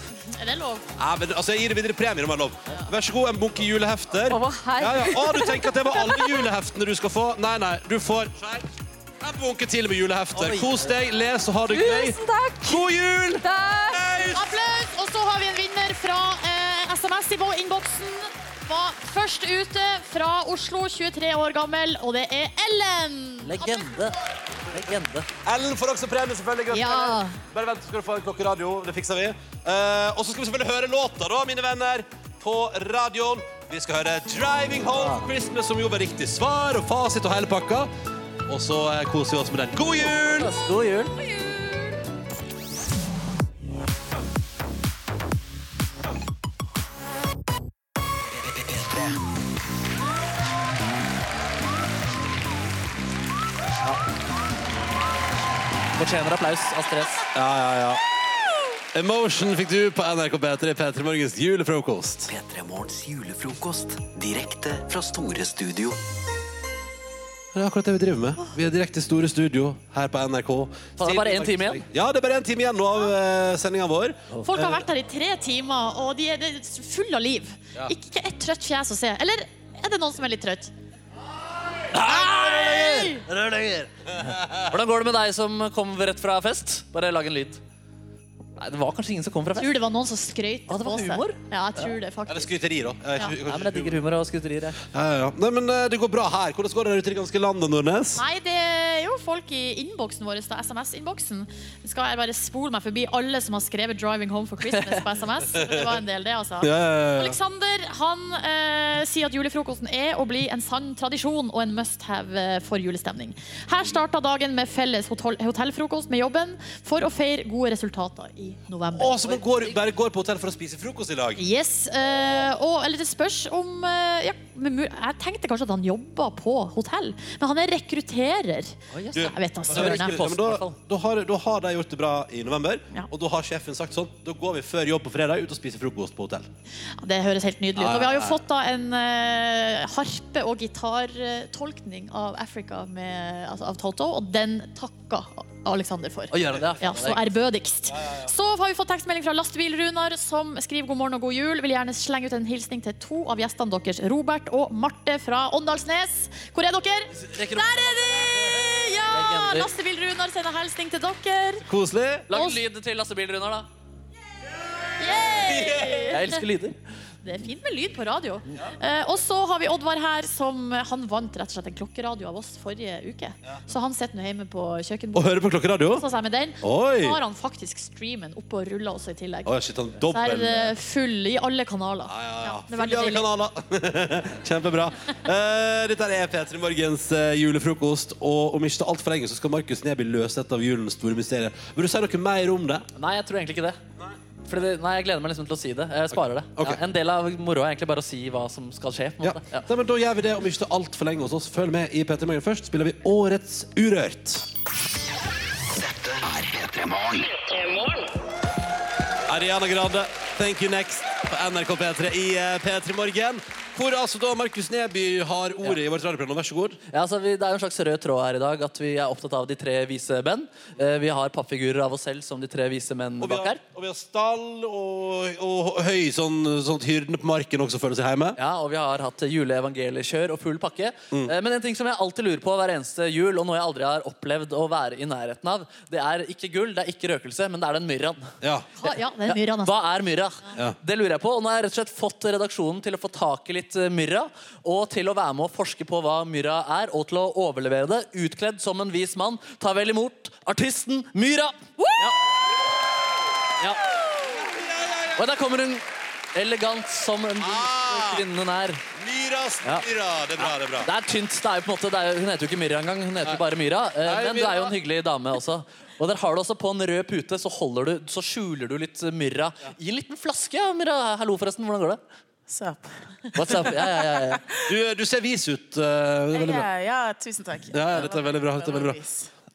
Er det lov?
Ja, men, altså, jeg gir deg videre premier om det er lov. Vær så god, en bunke julehefter.
Å, hva her?
ja, ja. Å, du tenker at det var alle juleheftene du skal få? Nei, nei, du får skjerp. en bunke til med julehefter. Kos deg, les og ha det gøy.
Tusen takk!
God jul!
Applaus! Og så har vi en vinner fra eh, SMS i innboksen. Var først ute fra Oslo, 23 år gammel, og det er Ellen.
Legende. Legende.
Ellen får også premie, selvfølgelig. Gratulerer. Bare vent, så skal du få en klokkeradio. Det fikser vi. Eh, og så skal vi selvfølgelig høre låta, da, mine venner, på radioen. Vi skal høre 'Driving Home for Christmas', som jo var riktig svar og fasit og hele pakka. Og så eh, koser vi oss med den. God jul!
God jul. Fortjener applaus, Astrid S.
Ja, ja, ja. Emotion fikk du på NRK P3 P3 Morgens julefrokost.
P3 Morgens julefrokost. Direkte fra store studio.
Det er akkurat det vi driver med. Vi er direkte i Store Studio her på NRK.
Så det er bare en time igjen?
Ja, det er bare en time igjen nå av uh, sendinga vår.
Folk har
Eh,
vært her i tre timer, og de er det er full av liv.
Ja.
Ikke, ikke ett trøtt fjes å se. Eller er det noen som er litt trøtt?
Rørlegger. Hvordan går det med deg som kom rett fra fest? Bare lag en lyd. Nei, det var kanskje ingen som kom fra
Jeg tror
fest.
det var noen som skrøt
det var
på seg.
humor?
Ja, jeg tror det,
Eller
faktisk.
skryteri, da.
Ja.
ikke-
Nei, men jeg digger humor og skryterier. jeg.
Ja, ja, ja. Nei, men eh, det går bra her. Hvordan går det der ute i det ganske landet, Nordnes?
Nei, det er jo folk i innboksen vår, da, SMS-innboksen. Skal jeg bare spole meg forbi alle som har skrevet 'Driving Home for Christmas' på SMS? for Det var en del, det, altså.
Ja, ja, ja.
Alexander han eh, sier at julefrokosten er og blir en sann tradisjon og en must have eh, for julestemning. Her starta dagen med felles hotell hotellfrokost med jobben for å feire gode resultater i november.
Å, så man går, bare går på hotell for å spise frokost i dag?
Yes, eh, og eller det spørs om eh, ja, men mu- Jeg tenkte kanskje at han jobber på hotell, men han er rekrutterer. Så jeg vet
Ja, men
da søren. jeg.
ikke- men da, da, har, da har de gjort det bra i november, og da har sjefen sagt sånn Da går vi før jobb på fredag ut og spiser frokost på hotell.
Ja, Det høres helt
Ja,
nydelig ut.
ja,
Og vi har jo
ja.
fått da en eh, harpe- og gitartolkning av Africa med, altså, av Toto, og den takka Alexander for.
Å, gjør han det, ja?
Ja, så ærbødigst. Så har vi fått tekstmelding fra Lastebil-Runar, som skriver god morgen og god jul. Vil gjerne slenge ut en hilsning til to av gjestene deres, Robert og Marte fra Åndalsnes. Hvor er dere? Der er de! Ja!
Legender.
Lastebil-Runar sender hilsning til dere.
Koselig.
Lag en lyd til lastebilen, Runar, da. Jeg elsker
Yay!
lyder.
Det er fint med lyd på radio. Eh, og så har vi Oddvar her, som eh, han vant rett og slett en klokkeradio av oss forrige uke. Så han sitter nå hjemme på
Og
kjøkkenbordet.
hører på klokkeradio?
Koser seg med den.
Oi.
Så har han faktisk streamen oppe og ruller også i tillegg.
Å, shit, han
så her er det
dobbel
full i alle kanaler. Ja, det er veldig
Følg alle
deilig.
kanaler. [laughs] Kjempebra. Eh, dette er P3 Morgens eh, julefrokost. Og om ikke det er altfor lenge, så skal Markus Neby løse et av julens store mysterier. Vil du si noe mer om det?
Nei, jeg tror egentlig ikke det. Fordi det nei, jeg gleder meg liksom til å si det. Jeg sparer det.
Ok.
Ja, en del av moroa er egentlig bare å si hva som skal skje. på en
Ja.
måte.
Nei, men da gjør vi det om ikke det er altfor lenge hos oss. Følg med i P3 Morgen først. Spiller vi Årets Urørt.
P3 Morgen.
Ariana Grande, Thank You Next på NRK P3 i eh, P3 Morgen. Hvor altså da Markus Neby har ordet i vårt radioprogram. Vær så god.
Ja, altså, vi, det er jo en slags rød tråd her i dag at vi er opptatt av de tre vise menn. Eh, vi har pappfigurer av oss selv som de tre vise menn
vi
bak
har-
her.
Og vi har stall og, og høy sånn, sånn at hyrdene på marken også føler seg hjemme.
Ja, og vi har hatt juleevangeliekjør og full pakke.
Mm.
Eh, Men en ting som jeg alltid lurer på hver eneste jul, og noe jeg aldri har opplevd å være i nærheten av, det er ikke gull, det er ikke røkelse, men det er den myrraen.
Hva- Ja, det er mye rann, altså.
Hva er myrra?
Ja.
Det lurer jeg på. Og nå har jeg rett og slett fått redaksjonen til å få tak i litt eh, myrra, og til å være med å forske på hva myrra er, og til å overlevere det utkledd som en vis mann. Ta vel imot artisten Myra! Ja. ja. Og der kommer hun elegant som en ah. kvinne hun er.
Myras
Ja.
myra. Det er bra, det er bra.
Det er tynt. Det er jo på en måte, det er, jo- hun heter jo ikke Myra engang. Hun heter jo bare Myra. Eh,
Nei,
Men du er jo
Myra.
en hyggelig dame også. Og der har du også På en rød pute så, holder du, så skjuler du litt eh, myrra i en liten flaske. ja, Myra, Hallo, forresten. Hvordan går det?
Sup.
What's up? Ja, ja, ja, ja.
Du, du ser vis ut. eh, det er veldig bra.
Ja, ja, tusen takk.
Ja, dette er veldig bra. Dette er veldig bra.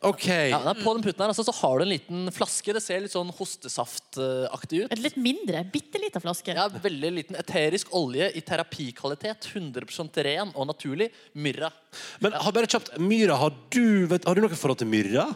OK.
Ja, nei, på den puten her altså, så har du en liten flaske. Det ser litt sånn hostesaftaktig ut.
En litt mindre, bitte lita flaske.
Ja, Veldig liten eterisk olje i terapikvalitet. 100 ren og naturlig. Myrra.
Men har bare kjapt, Myra, har du, vet, har du noe forhold til Myra?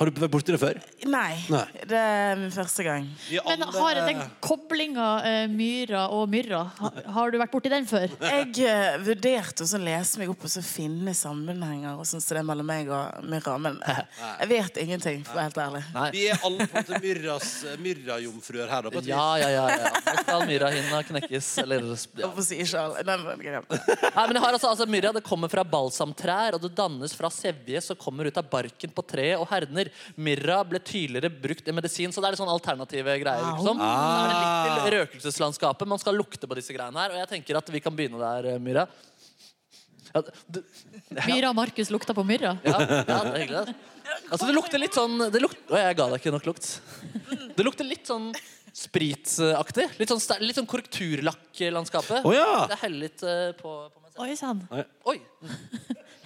Har du vært borti det før?
Nei.
Nei.
Det er min første gang.
Men har
eh,
den koblinga eh, myra og myrra, ha- har du vært borti den
[laughs]
før?
Jeg eh, vurderte også å lese meg opp og så finne sammenhenger og sånn som det er mellom meg og Myrra, men eh, jeg vet ingenting, for å være helt ærlig.
Vi er alle på en måte myrras, myrrajomfruer her, da. på et vis.
Ja, ja, ja. ja. Nå skal myrrahinna knekkes, eller ja.
Hvorfor sier ikke alle Nei, men greit.
Nei, men jeg har altså, altså Myrra det kommer fra balsamtrær, og det dannes fra sevje som kommer ut av barken på treet og herner. Myrra ble tydeligere brukt i medisin, så det er litt sånn alternative greier. Liksom.
Ah.
Så er det likt til røkelseslandskapet. Man skal lukte på disse greiene her. Og jeg tenker at vi kan begynne der, eh, Myrra. Ja, du,
Myra og Markus lukta på myrra.
ja, ja, det er hyggelig. det. Altså, det lukter litt sånn det luk... Å, jeg ga deg ikke nok lukt. Det lukter litt sånn spritaktig. Litt sånn, ster- litt sånn korrekturlakklandskapet.
Å, ja.
Det heller litt eh, på, på meg selv.
Oi sann.
Nei.
Oi.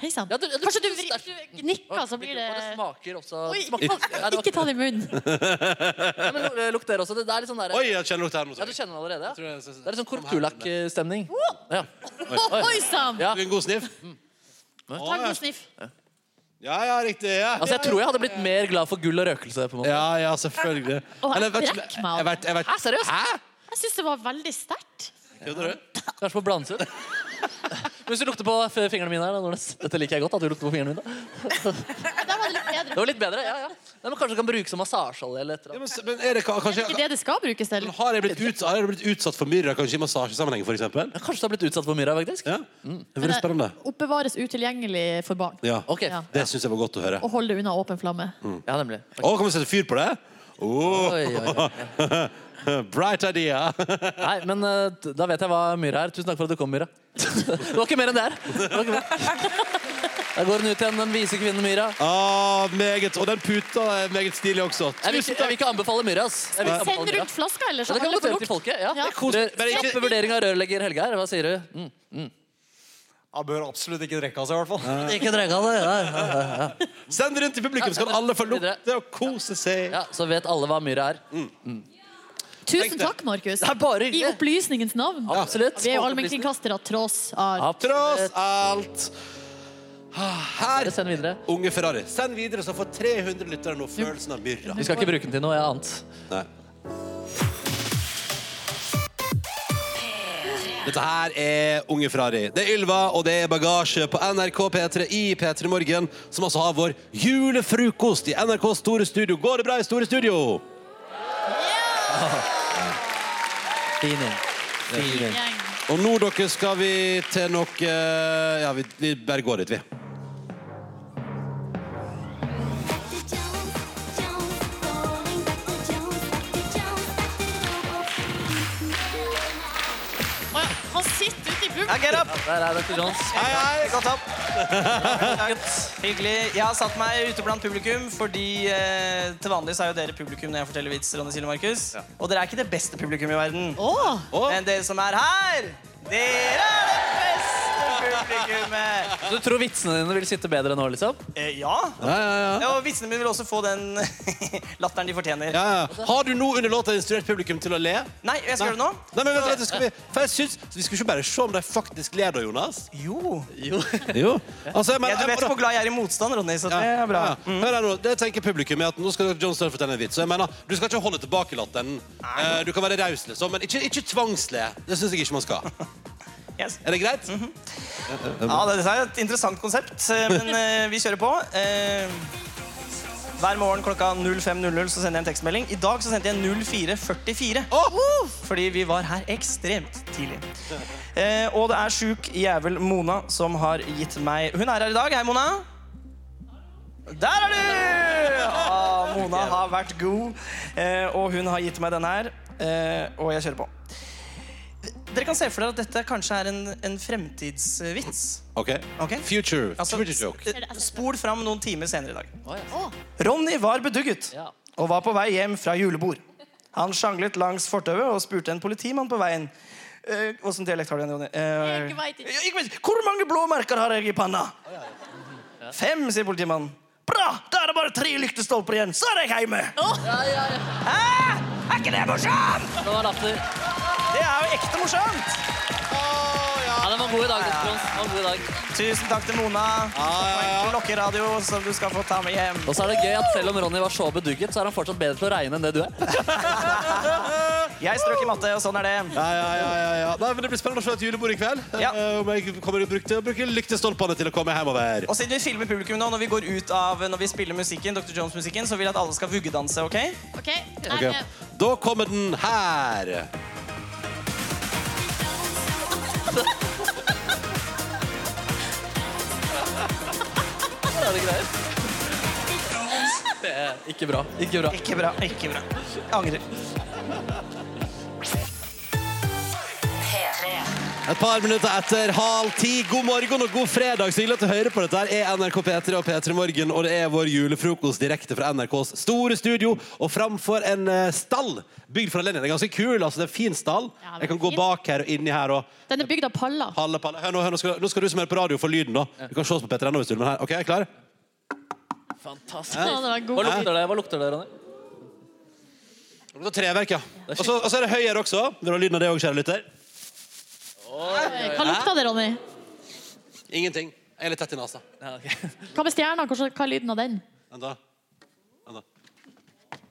Hei sann.
Ja, du- du-
Kanskje du, vri- du gnikker, så blir det
Og det smaker også
Oi,
det
[laughs]
smaker- Nei, det var-
Ikke ta det i munnen.
Nei, men lu- Lukt dere også. Det, det er litt sånn der,
Oi, jeg kjenner lukt her
Ja,
nå.
du
sorry.
kjenner det allerede? Ja. Det er litt sånn korrekturlakkstemning. Ja.
Oi sann!
Ja.
En god sniff?
Ta en god sniff.
Ja, ja, riktig. Ja.
Altså, jeg tror jeg hadde blitt mer glad for gull og røkelse. på en måte.
Ja, ja, selvfølgelig.
Å,
Eller,
jeg
vet ikke-
brekk meg
jeg vet- jeg vet-
Hæ, seriøst?
Hæ?
Jeg syns det var veldig sterkt.
Kødder du?
Kanskje på blandet [laughs] ut. Hvis du lukter på f- fingrene mine her, da, Nordnes. Dette liker jeg godt. at du lukter på fingrene mine. Det var litt bedre, ja, ja. Nei, men kanskje du kan bruke som massasjeolje eller et eller
annet. Men er det ka- kanskje...
Det er det det skal brukes til.
Har jeg blitt, ut, har jeg blitt utsatt for myrra kanskje i massasjesammenheng? For eksempel?
Kanskje du har blitt utsatt for myrra, faktisk.
Ja. Det er veldig spennende.
Oppbevares utilgjengelig for barn.
Ja.
Ok. Ja.
Det syns jeg var godt å høre.
Og hold det unna åpen flamme.
Ja, nemlig.
Å, kan vi sette fyr på det? Oh.
Oi, oi,
Bright idea. [laughs]
Nei, men eh, da vet jeg hva myrra er. Tusen takk for at du kom, myrra. [laughs] Det var ikke mer enn det her. Det var ikke mer. Da går den ut igjen, den vise kvinnen Myra.
Ah, meget. Og den puta er meget stilig også.
Jeg vil, ikke, jeg vil ikke anbefale Myra. ass. Jeg vil ikke
Send
anbefale Myra.
rundt flaska, ellers.
Ja, det kan
alle
godt
får
gjøre til
lukt.
folket. Ja.
Ja.
Kjappe vurdering av rørlegger Helge her. Hva sier du? Mm.
Han bør absolutt ikke drikke av seg, i hvert fall.
Ikke drega det. Ja, ja, ja.
Send det rundt til publikum, så kan alle få lukte og kose seg.
Ja, Så vet alle hva myra er.
Tusen takk, Markus.
Det er bare
I
hyggelig.
opplysningens navn.
Absolutt.
Vi er jo allmennkringkastere tross alt.
Tross alt. Ah, Her Unge Ferrari. Send videre, så får 300 lyttere nå følelsen av myrra.
Vi skal ikke bruke den til noe annet.
Nei. Dette her er Unge Ferrari. Det er Ylva, og det er bagasje på NRK P3 i P3 Morgen, som altså har vår julefrokost i NRKs store studio. Går det bra i store studio?
Fin gjeng.
Fin gjeng. Og nå, dere, skal vi til noe Ja, vi, vi bare går dit, vi.
Å ja, Han sitter ute i
Ja, get up!
publikum.
Der er Dr. Jones.
Hei, hei, godt opp. Hyggelig. Jeg har satt meg ute blant publikum, fordi eh, til vanlig så er jo dere publikum når jeg forteller vitser, Ronny Silje og Markus. Og dere er ikke det beste publikum i verden. Men dere som er her, dere er det beste publikummet.
Så Du tror vitsene dine vil sitte bedre nå, liksom?
Eh, ja.
Ja, ja, ja.
Ja, og vitsene mine vil også få den [laughs] latteren de fortjener.
Ja, ja. Har du nå under låta instruert publikum til å le?
Nei, jeg skal gjøre det nå.
Nei, men vent, vent, skal vi, for jeg syns, vi skal ikke bare se om de faktisk ler da, Jonas.
Jo.
Jo.
Jo. Altså, jeg mener-
Ja, du vet hvor glad jeg er i motstand, Ronny, så det er bra. Mm.
Ja, ja. Hør her nå, det tenker publikum er at nå skal John Stern fortelle en vits. Så jeg mener, du skal ikke holde tilbake latteren. Eh, Du kan være raus, liksom, men ikke, ikke tvangsle. Det syns jeg ikke man
[laughs]
skal. Er det greit?
Mhm. Ja, det dette er et interessant konsept, eh, men eh, vi kjører på. Eh, hver morgen klokka 05.00 så sender jeg en tekstmelding. I dag så sendte jeg 04.44. Fordi vi var her ekstremt tidlig. Eh, og det er sjuk jævel Mona som har gitt meg Hun er her i dag. Hei, Mona. Der er du! Ah, Mona har vært god, eh, og hun har gitt meg denne her. Eh, og jeg kjører på. Dere kan se for dere at dette kanskje er en, en fremtidsvits.
OK. Future. Future joke.
Altså, spol fram noen timer senere i dag. Ronny var bedugget og var på vei hjem fra julebord. Han sjanglet langs fortauet og spurte en politimann på veien. «Eh, Åssen dialekt har du igjen, Ronny? Eh,
Jeg vet ikke.
«Jeg- jeg vet ikke. Hvor mange blå merker har jeg i panna? Fem, sier politimannen. Bra! Da er det bare tre lyktestolper igjen, så er jeg hjemme! Hæ? Er ikke det morsomt?
Det var latter.
Det er jo ekte morsomt!
Ja, den var god i dag, doktor Hans. Han var god i dag.
Tusen takk til Mona. Og en klokkeradio som du skal få ta med hjem.
Og så er det gøy at selv om Ronny var så bedugget, så er han fortsatt bedre til å regne enn det du er.
Jeg strøk i matte, og sånn er det.
Ja, ja, ja, ja, ja. Nei, men Det blir spennende å se et julebord i kveld. Eh, Om jeg kommer til å bruke, til å bruke lyktestolpene til å komme hjemover.
Og siden vi filmer publikum nå, når vi går ut av, når vi spiller musikken, Dr. Jones-musikken, så vil jeg at alle skal vuggedanse, OK?
OK? Nei,
Ok.
men-
Da kommer den her.
Er det greier? Det er ikke bra. Ikke bra.
Ikke bra. Ikke bra. Angrer.
Et par minutter etter halv ti. God morgen og god fredag. Så hyggelig at du hører på dette. her er NRK P3 og P3 Morgen, og det er vår julefrokost direkte fra NRKs store studio. Og framfor en eh, stall bygd fra Lenin. Det er ganske kul. altså Det er en fin stall.
Ja, den er
Jeg kan gå
fin.
bak her og inni her og
Den er bygd av paller.
palle, palle. Hør nå, hør, nå, skal, nå skal du som hører på radio, få lyden, da. Du kan se oss på P3 nå hvis du vil. men her- OK, er jeg klar?
Fantastisk.
[laughs] Ja, det var god.
Hva lukter det, Hva lukter det Ronny?
Det er treverk, ja. Og så og så er det høyere også. Vil du ha lyden av det òg, kjære lytter?
Hva lukta det, Ronny?
Ingenting. Jeg er litt tett i nesa.
Hva med stjerna? Hvordan- Hva er lyden av den?
Vent, da. Vent da.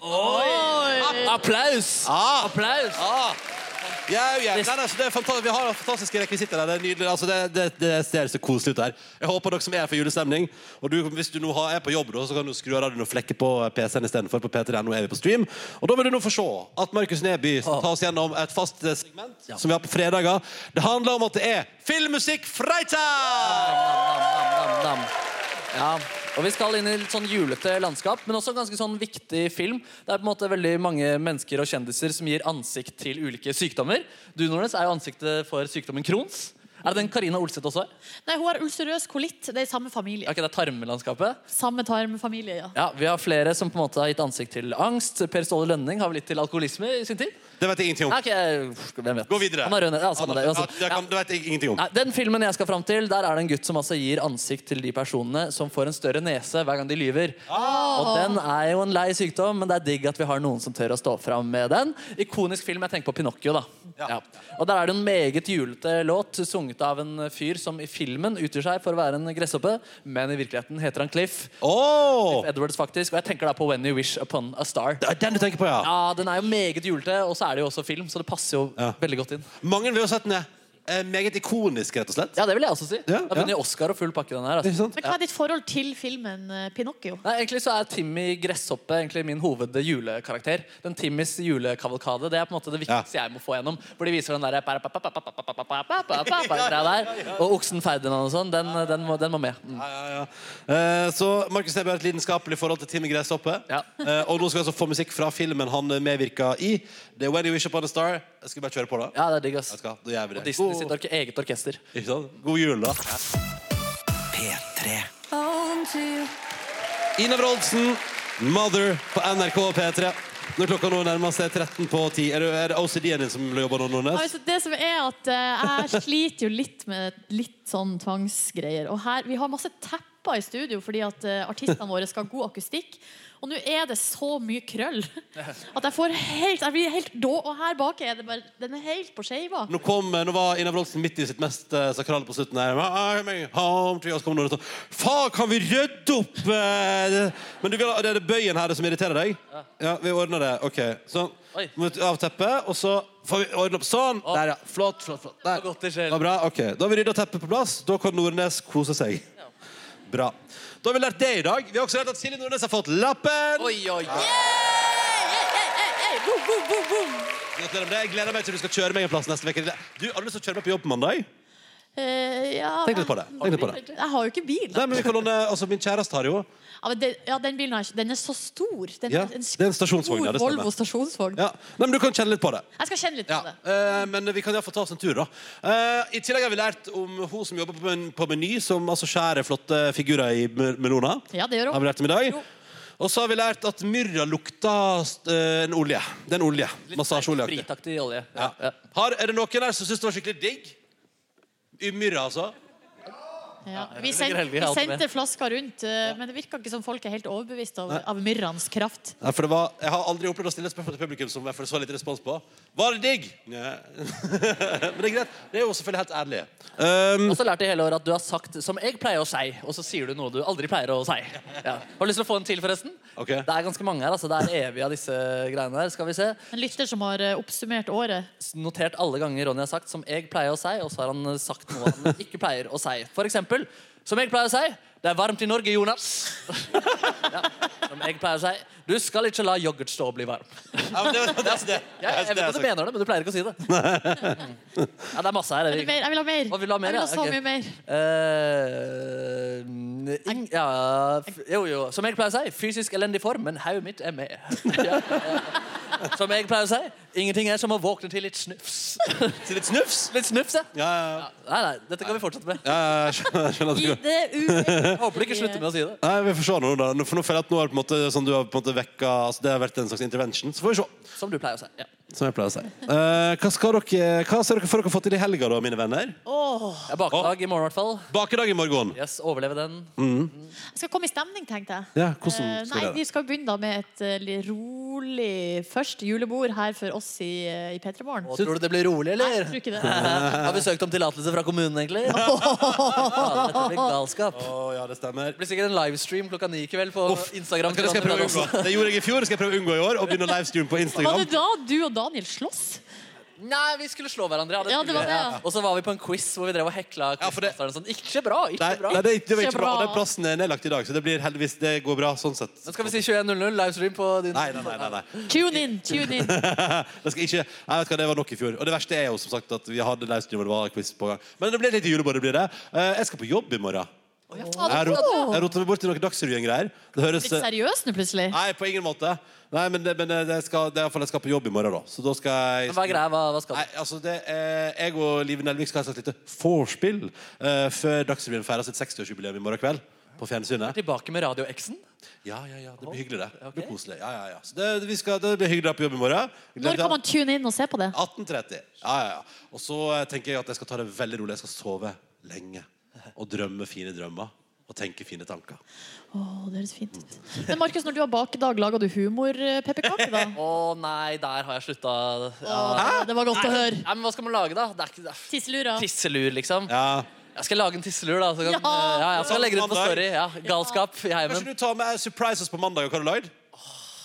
Oi! Applaus!
Ah!
Applaus!
Ah! Jau, jau. Nei, nei, altså, det er fanta- vi har fantastiske rekvisitter her. Det er nydelig. Altså, det, det, det ser så koselig ut her. Jeg håper dere som er her for julestemning og du, Hvis du nå har, er på jobb, da, så kan du skru av radioen og flekke på PC-en istedenfor. På P3. Nå er vi på stream. Og da vil du nå få se at Markus Neby tar oss gjennom et fast eh, segment som vi har på fredager. Det handler om at det er Filmmusikk
Nam, nam. Ja, og Vi skal inn i litt sånn julete landskap, men også ganske sånn viktig film. Det er på en måte veldig mange mennesker og kjendiser som gir ansikt til ulike sykdommer. Du Nordnes, er jo ansiktet for sykdommen Crohns. Er det den Karina Olseth også er?
Nei, hun har ulcerøs kolitt. Det er i samme familie.
Ja, ikke det er tarmlandskapet?
Samme tarmfamilie, ja.
Ja, Vi har flere som på en måte har gitt ansikt til angst. Per Ståle Lønning har vel litt til alkoholisme i sin tid.
Det vet jeg ingenting om.
Ja, ok, hvem vet.
Gå videre.
Han har rød nese. Ja, samme det,
Ja,
uansett.
det, kan, det vet jeg ingenting om.
Nei, den filmen jeg skal fram til, der er det en gutt som altså gir ansikt til de personene som får en større nese hver gang de lyver.
Ah!
Og den er jo en lei sykdom, men det er digg at vi har noen som tør å stå fram med den. Ikonisk film. Jeg tenker på Pinocchio, da. Ja. Og der er det en meget julete låt sunget av en fyr som i filmen utgir seg for å være en gresshoppe, men i virkeligheten heter han Cliff. Cliff Edwards, faktisk. Og jeg tenker da på When You Wish Upon a Star.
Den du tenker på, ja.
Ja, den er jo meget julete, og så er det jo også film, så det passer jo veldig godt inn.
Mange vil jo sette ned. Eh, meget ikonisk, rett og slett.
Ja, det vil jeg også si.
Ja,
Da begynner jeg Oscar og full pakke den her. Altså.
Men hva er ditt forhold til filmen eh, Pinocchio?
Nei, egentlig så er Timmy Gresshoppe egentlig min hovedjulekarakter. Den Timmys julekavalkade det er på en måte det viktigste jeg må få gjennom. Hvor de viser den der greia der. Og oksen Ferdinand og sånn. Den, den, må, den må med. Mm.
Eh, Så Markus Neby har et lidenskapelig forhold til Timmy Gresshoppe. Eh, Og nå skal vi altså få musikk fra filmen han medvirka i. Det er When You Wish Upon a Star. Jeg skal vi bare kjøre på, da.
Ja, det er digg, ass.
Vet du hva, Da gjør
Og
vi det.
Disney sitt orke- eget orkester.
Ikke sant? God jul, da. Ina Wroldsen, 'Mother' på NRK og P3. Når klokka nå nærmer seg 13 på 10 Er det, er det OCD-en din som jobber nå, Nordnes?
Altså, det som er at eh, Jeg sliter jo litt med litt sånn tvangsgreier. Og her, Vi har masse tepper i studio fordi at eh, artistene våre skal ha god akustikk. Og nå er det så mye
[laughs]
krøll at jeg får helt, jeg blir helt då. Og her bak er det bare Den er helt på skeiva.
Nå, kom, eh, nå var Ina Wroldsen midt i sitt mest eh, sakrale på slutten. her I'm home to you. Og så kom noen og sa Faen, sånn, kan vi rydde opp? eh, det- Men du vil, ha- det er det bøyen her som irriterer deg? Ja, vi ordner det. OK. Sånn. Må du Av teppet, og så får vi ordne opp sånn. Der, ja. Flott. flott, flott. Der. Det var bra. ok. Da har vi rydda teppet på plass. Da kan Nordnes kose seg. Bra. Da har vi lært det i dag. Vi har også lært at Silje Nordnes har fått lappen.
Oi, oi,
oi. Gratulerer med det. Jeg gleder meg til du skal kjøre meg en plass neste uke. Du, har du lyst til å kjøre meg på jobb på mandag?
Eh, ja,
Tenk litt på det. Tenk litt på det.
Jeg har jo ikke bil.
Nei, men vi kan låne, altså Min kjæreste har jo
Ja, men den, ja, den bilen har jeg ikke. Den er så stor. Den
ja,
er en
Det er en stasjonsvogn. Ja, det stemmer.
Volvo stasjonsvogn.
Ja. Nei, men Du kan kjenne litt på det.
Jeg skal kjenne litt på det.
Eh, men vi kan iallfall ta oss en tur, da. Eh, I tillegg har vi lært om hun som jobber på, men på Meny, som altså skjærer flotte figurer i me- meloner.
Ja, det gjør hun.
Har vi lært om i dag? Og så har vi lært at myrra lukter eh, en olje. Det er en olje. Massasjeolje.
Fritaktig olje.
Ja. Har, er det noen her som syns det var skikkelig digg? I myrra, altså?
Ja. Vi, sendte, vi sendte flaska rundt, eh, men det virka ikke som folk er helt overbevist av, av myrranes kraft.
Nei, for det var, jeg har aldri opplevd å stille et spørsmål til publikum som jeg får så litt respons på. Var det digg? Nei. [laughs] Men det er greit. Det er jo selvfølgelig helt ærlig.
og så lærte jeg hele året at du har sagt som jeg pleier å si, og så sier du noe du aldri pleier å si. Ja. Har du lyst til å få en til, forresten? Det er ganske mange her. altså. Det er evig av disse greiene her. Skal vi se.
En lytter som har eh, oppsummert året.
Notert alle ganger Ronny har sagt som jeg pleier å si, og så har han eh, sagt noe han ikke pleier å si. For eksempel, som jeg pleier å si, det er varmt i Norge, Jonas. [laughs] ja. Som jeg pleier å si, du skal ikke la yoghurt stå og bli varm. Ja, jeg vet at
altså.
du mener det, men du pleier ikke å si det. Ja, det er masse her.
Jeg vil, jeg vil ha mer.
Å, vil du ha mer, ja?
jeg vil ha så
Ok.
mye mer.
Eh, ing, ja, f- jo, jo. Som jeg pleier å si, fysisk elendig form, men hodet mitt er med. Ja, ja. Som jeg pleier å si, ingenting er som å våkne til litt snufs. [laughs]
Til litt snufs?
Litt snufs, ja. Nei, nei, dette kan vi fortsette med.
Ja, jeg skjønner, skjønner at det går.
Jeg Håper du ikke slutter med å si det.
Nei, vi får se nå, da. Nå- For nå føler jeg at nå har på en måte, sånn du har på en måte vekka altså Det har vært en slags intervention. Så får vi se.
Som du pleier å si. Ja.
Som jeg pleier å si. Eh, hva, skal dere, hva ser dere for dere å få til i helga, da, mine venner?
Jeg er bakedag i morgen, i hvert fall.
Bakedag i morgen.
Yes, Overleve den.
Mm.
Jeg skal komme i stemning, tenkte jeg.
Ja, hvordan
Eh,
skal
Nei,
det
Vi
være?
skal begynne da med et eh, litt rolig først julebord her for oss i, eh, i P3 Morgen.
Og tror du det blir rolig, eller?
Nei, jeg tror ikke det.
Har vi søkt om tillatelse fra kommunen, egentlig? Ja, dette blir galskap.
ja, det stemmer.
Det blir sikkert en livestream klokka ni i kveld på Instagram.
Det skal jeg prøve å unngå. Det gjorde jeg i fjor. Det skal jeg prøve å unngå i år. Og begynne å livestreame på
Var
Instagram.
det da du og Daniel sloss?
Nei, vi skulle slå hverandre. Ja,
Ja, det
skulle
var
vi.
det, ja.
Og så var vi på en quiz hvor vi drev og hekla quizmasteren. Sånn, ikke bra, ikke
Nei,
bra.
nei det, det var ikke bra. Og den plassen er nedlagt i dag, så det blir heldigvis det går bra sånn sett.
Men skal vi si 21.00 livestream på din
Nei, nei, nei. nei, nei.
Tune in! tune in
det skal ikke, jeg vet hva, det var nok i fjor. Og det verste er jo som sagt at vi hadde livestream og det var quiz på gang. Men det blir litt julebord. det blir det. Eh, Jeg skal på jobb i morgen. Jeg rot- jeg roter meg bort til noen Dagsrevyen-greier. Det høres
Litt seriøs nå, plutselig.
Nei, på ingen måte. Nei, men, det, men det, det skal, det er i hvert fall jeg skal på jobb i morgen, da. Så da skal jeg
Men hva er greia? Hva, hva skal du?
Nei, altså det er, Jeg og Live Nelvik skal ha et slags lite vorspiel eh, før Dagsrevyen feirer sitt 60-årsjubileum i morgen kveld. På fjernsynet.
Tilbake med Radio X-en?
Ja, ja, ja. Det blir hyggelig, det. Det blir koselig. Ja, ja, ja. Så det, vi skal, det blir hyggelig da på jobb i morgen.
Når kan man tune inn og se på det?
18.30. Ja, ja, ja. Og så eh, tenker jeg at jeg skal ta det veldig rolig. Jeg skal sove lenge. Og drømme fine drømmer. Og tenke fine tanker.
Åh, det høres fint ut. Men Markus, når du har bakedag, lager du humor-pepperkake da?
Å nei, der har jeg slutta.
Åh, det var godt å høre.
Nei, men hva skal man lage, da? Det er ikke, det er...
Tisselura.
Tisselur, liksom.
Ja.
Jeg skal lage en tisselur, da. Så kan, ja.
Ja.
Ja, jeg skal legge det ut på Story. Ja, galskap i heimen.
Kanskje du tar med surprises på mandag? og Hva har du lagd?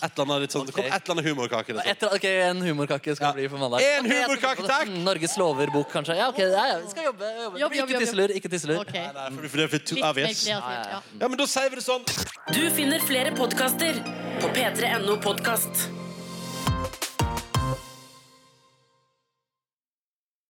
Et eller annet, litt sånn, det kom et eller annet humorkake. Liksom.
Etter, ok, En humorkake skal det bli for mandag.
En
Ok, jeg skal
humorkake,
jobbe på det. Mm, Norges lover-bok, kanskje. Ja, ok, ja, ja, vi skal jobbe. jobbe.
Jobb, jobb,
ikke
jobb,
tisselur.
jobb.
ikke tisselur.
Ok. Nei,
nei, for, for det er for to
Litt mer
obvious.
kreativt, ja.
Ja, men da sier vi det sånn.
Du finner flere podkaster på p3.no podkast.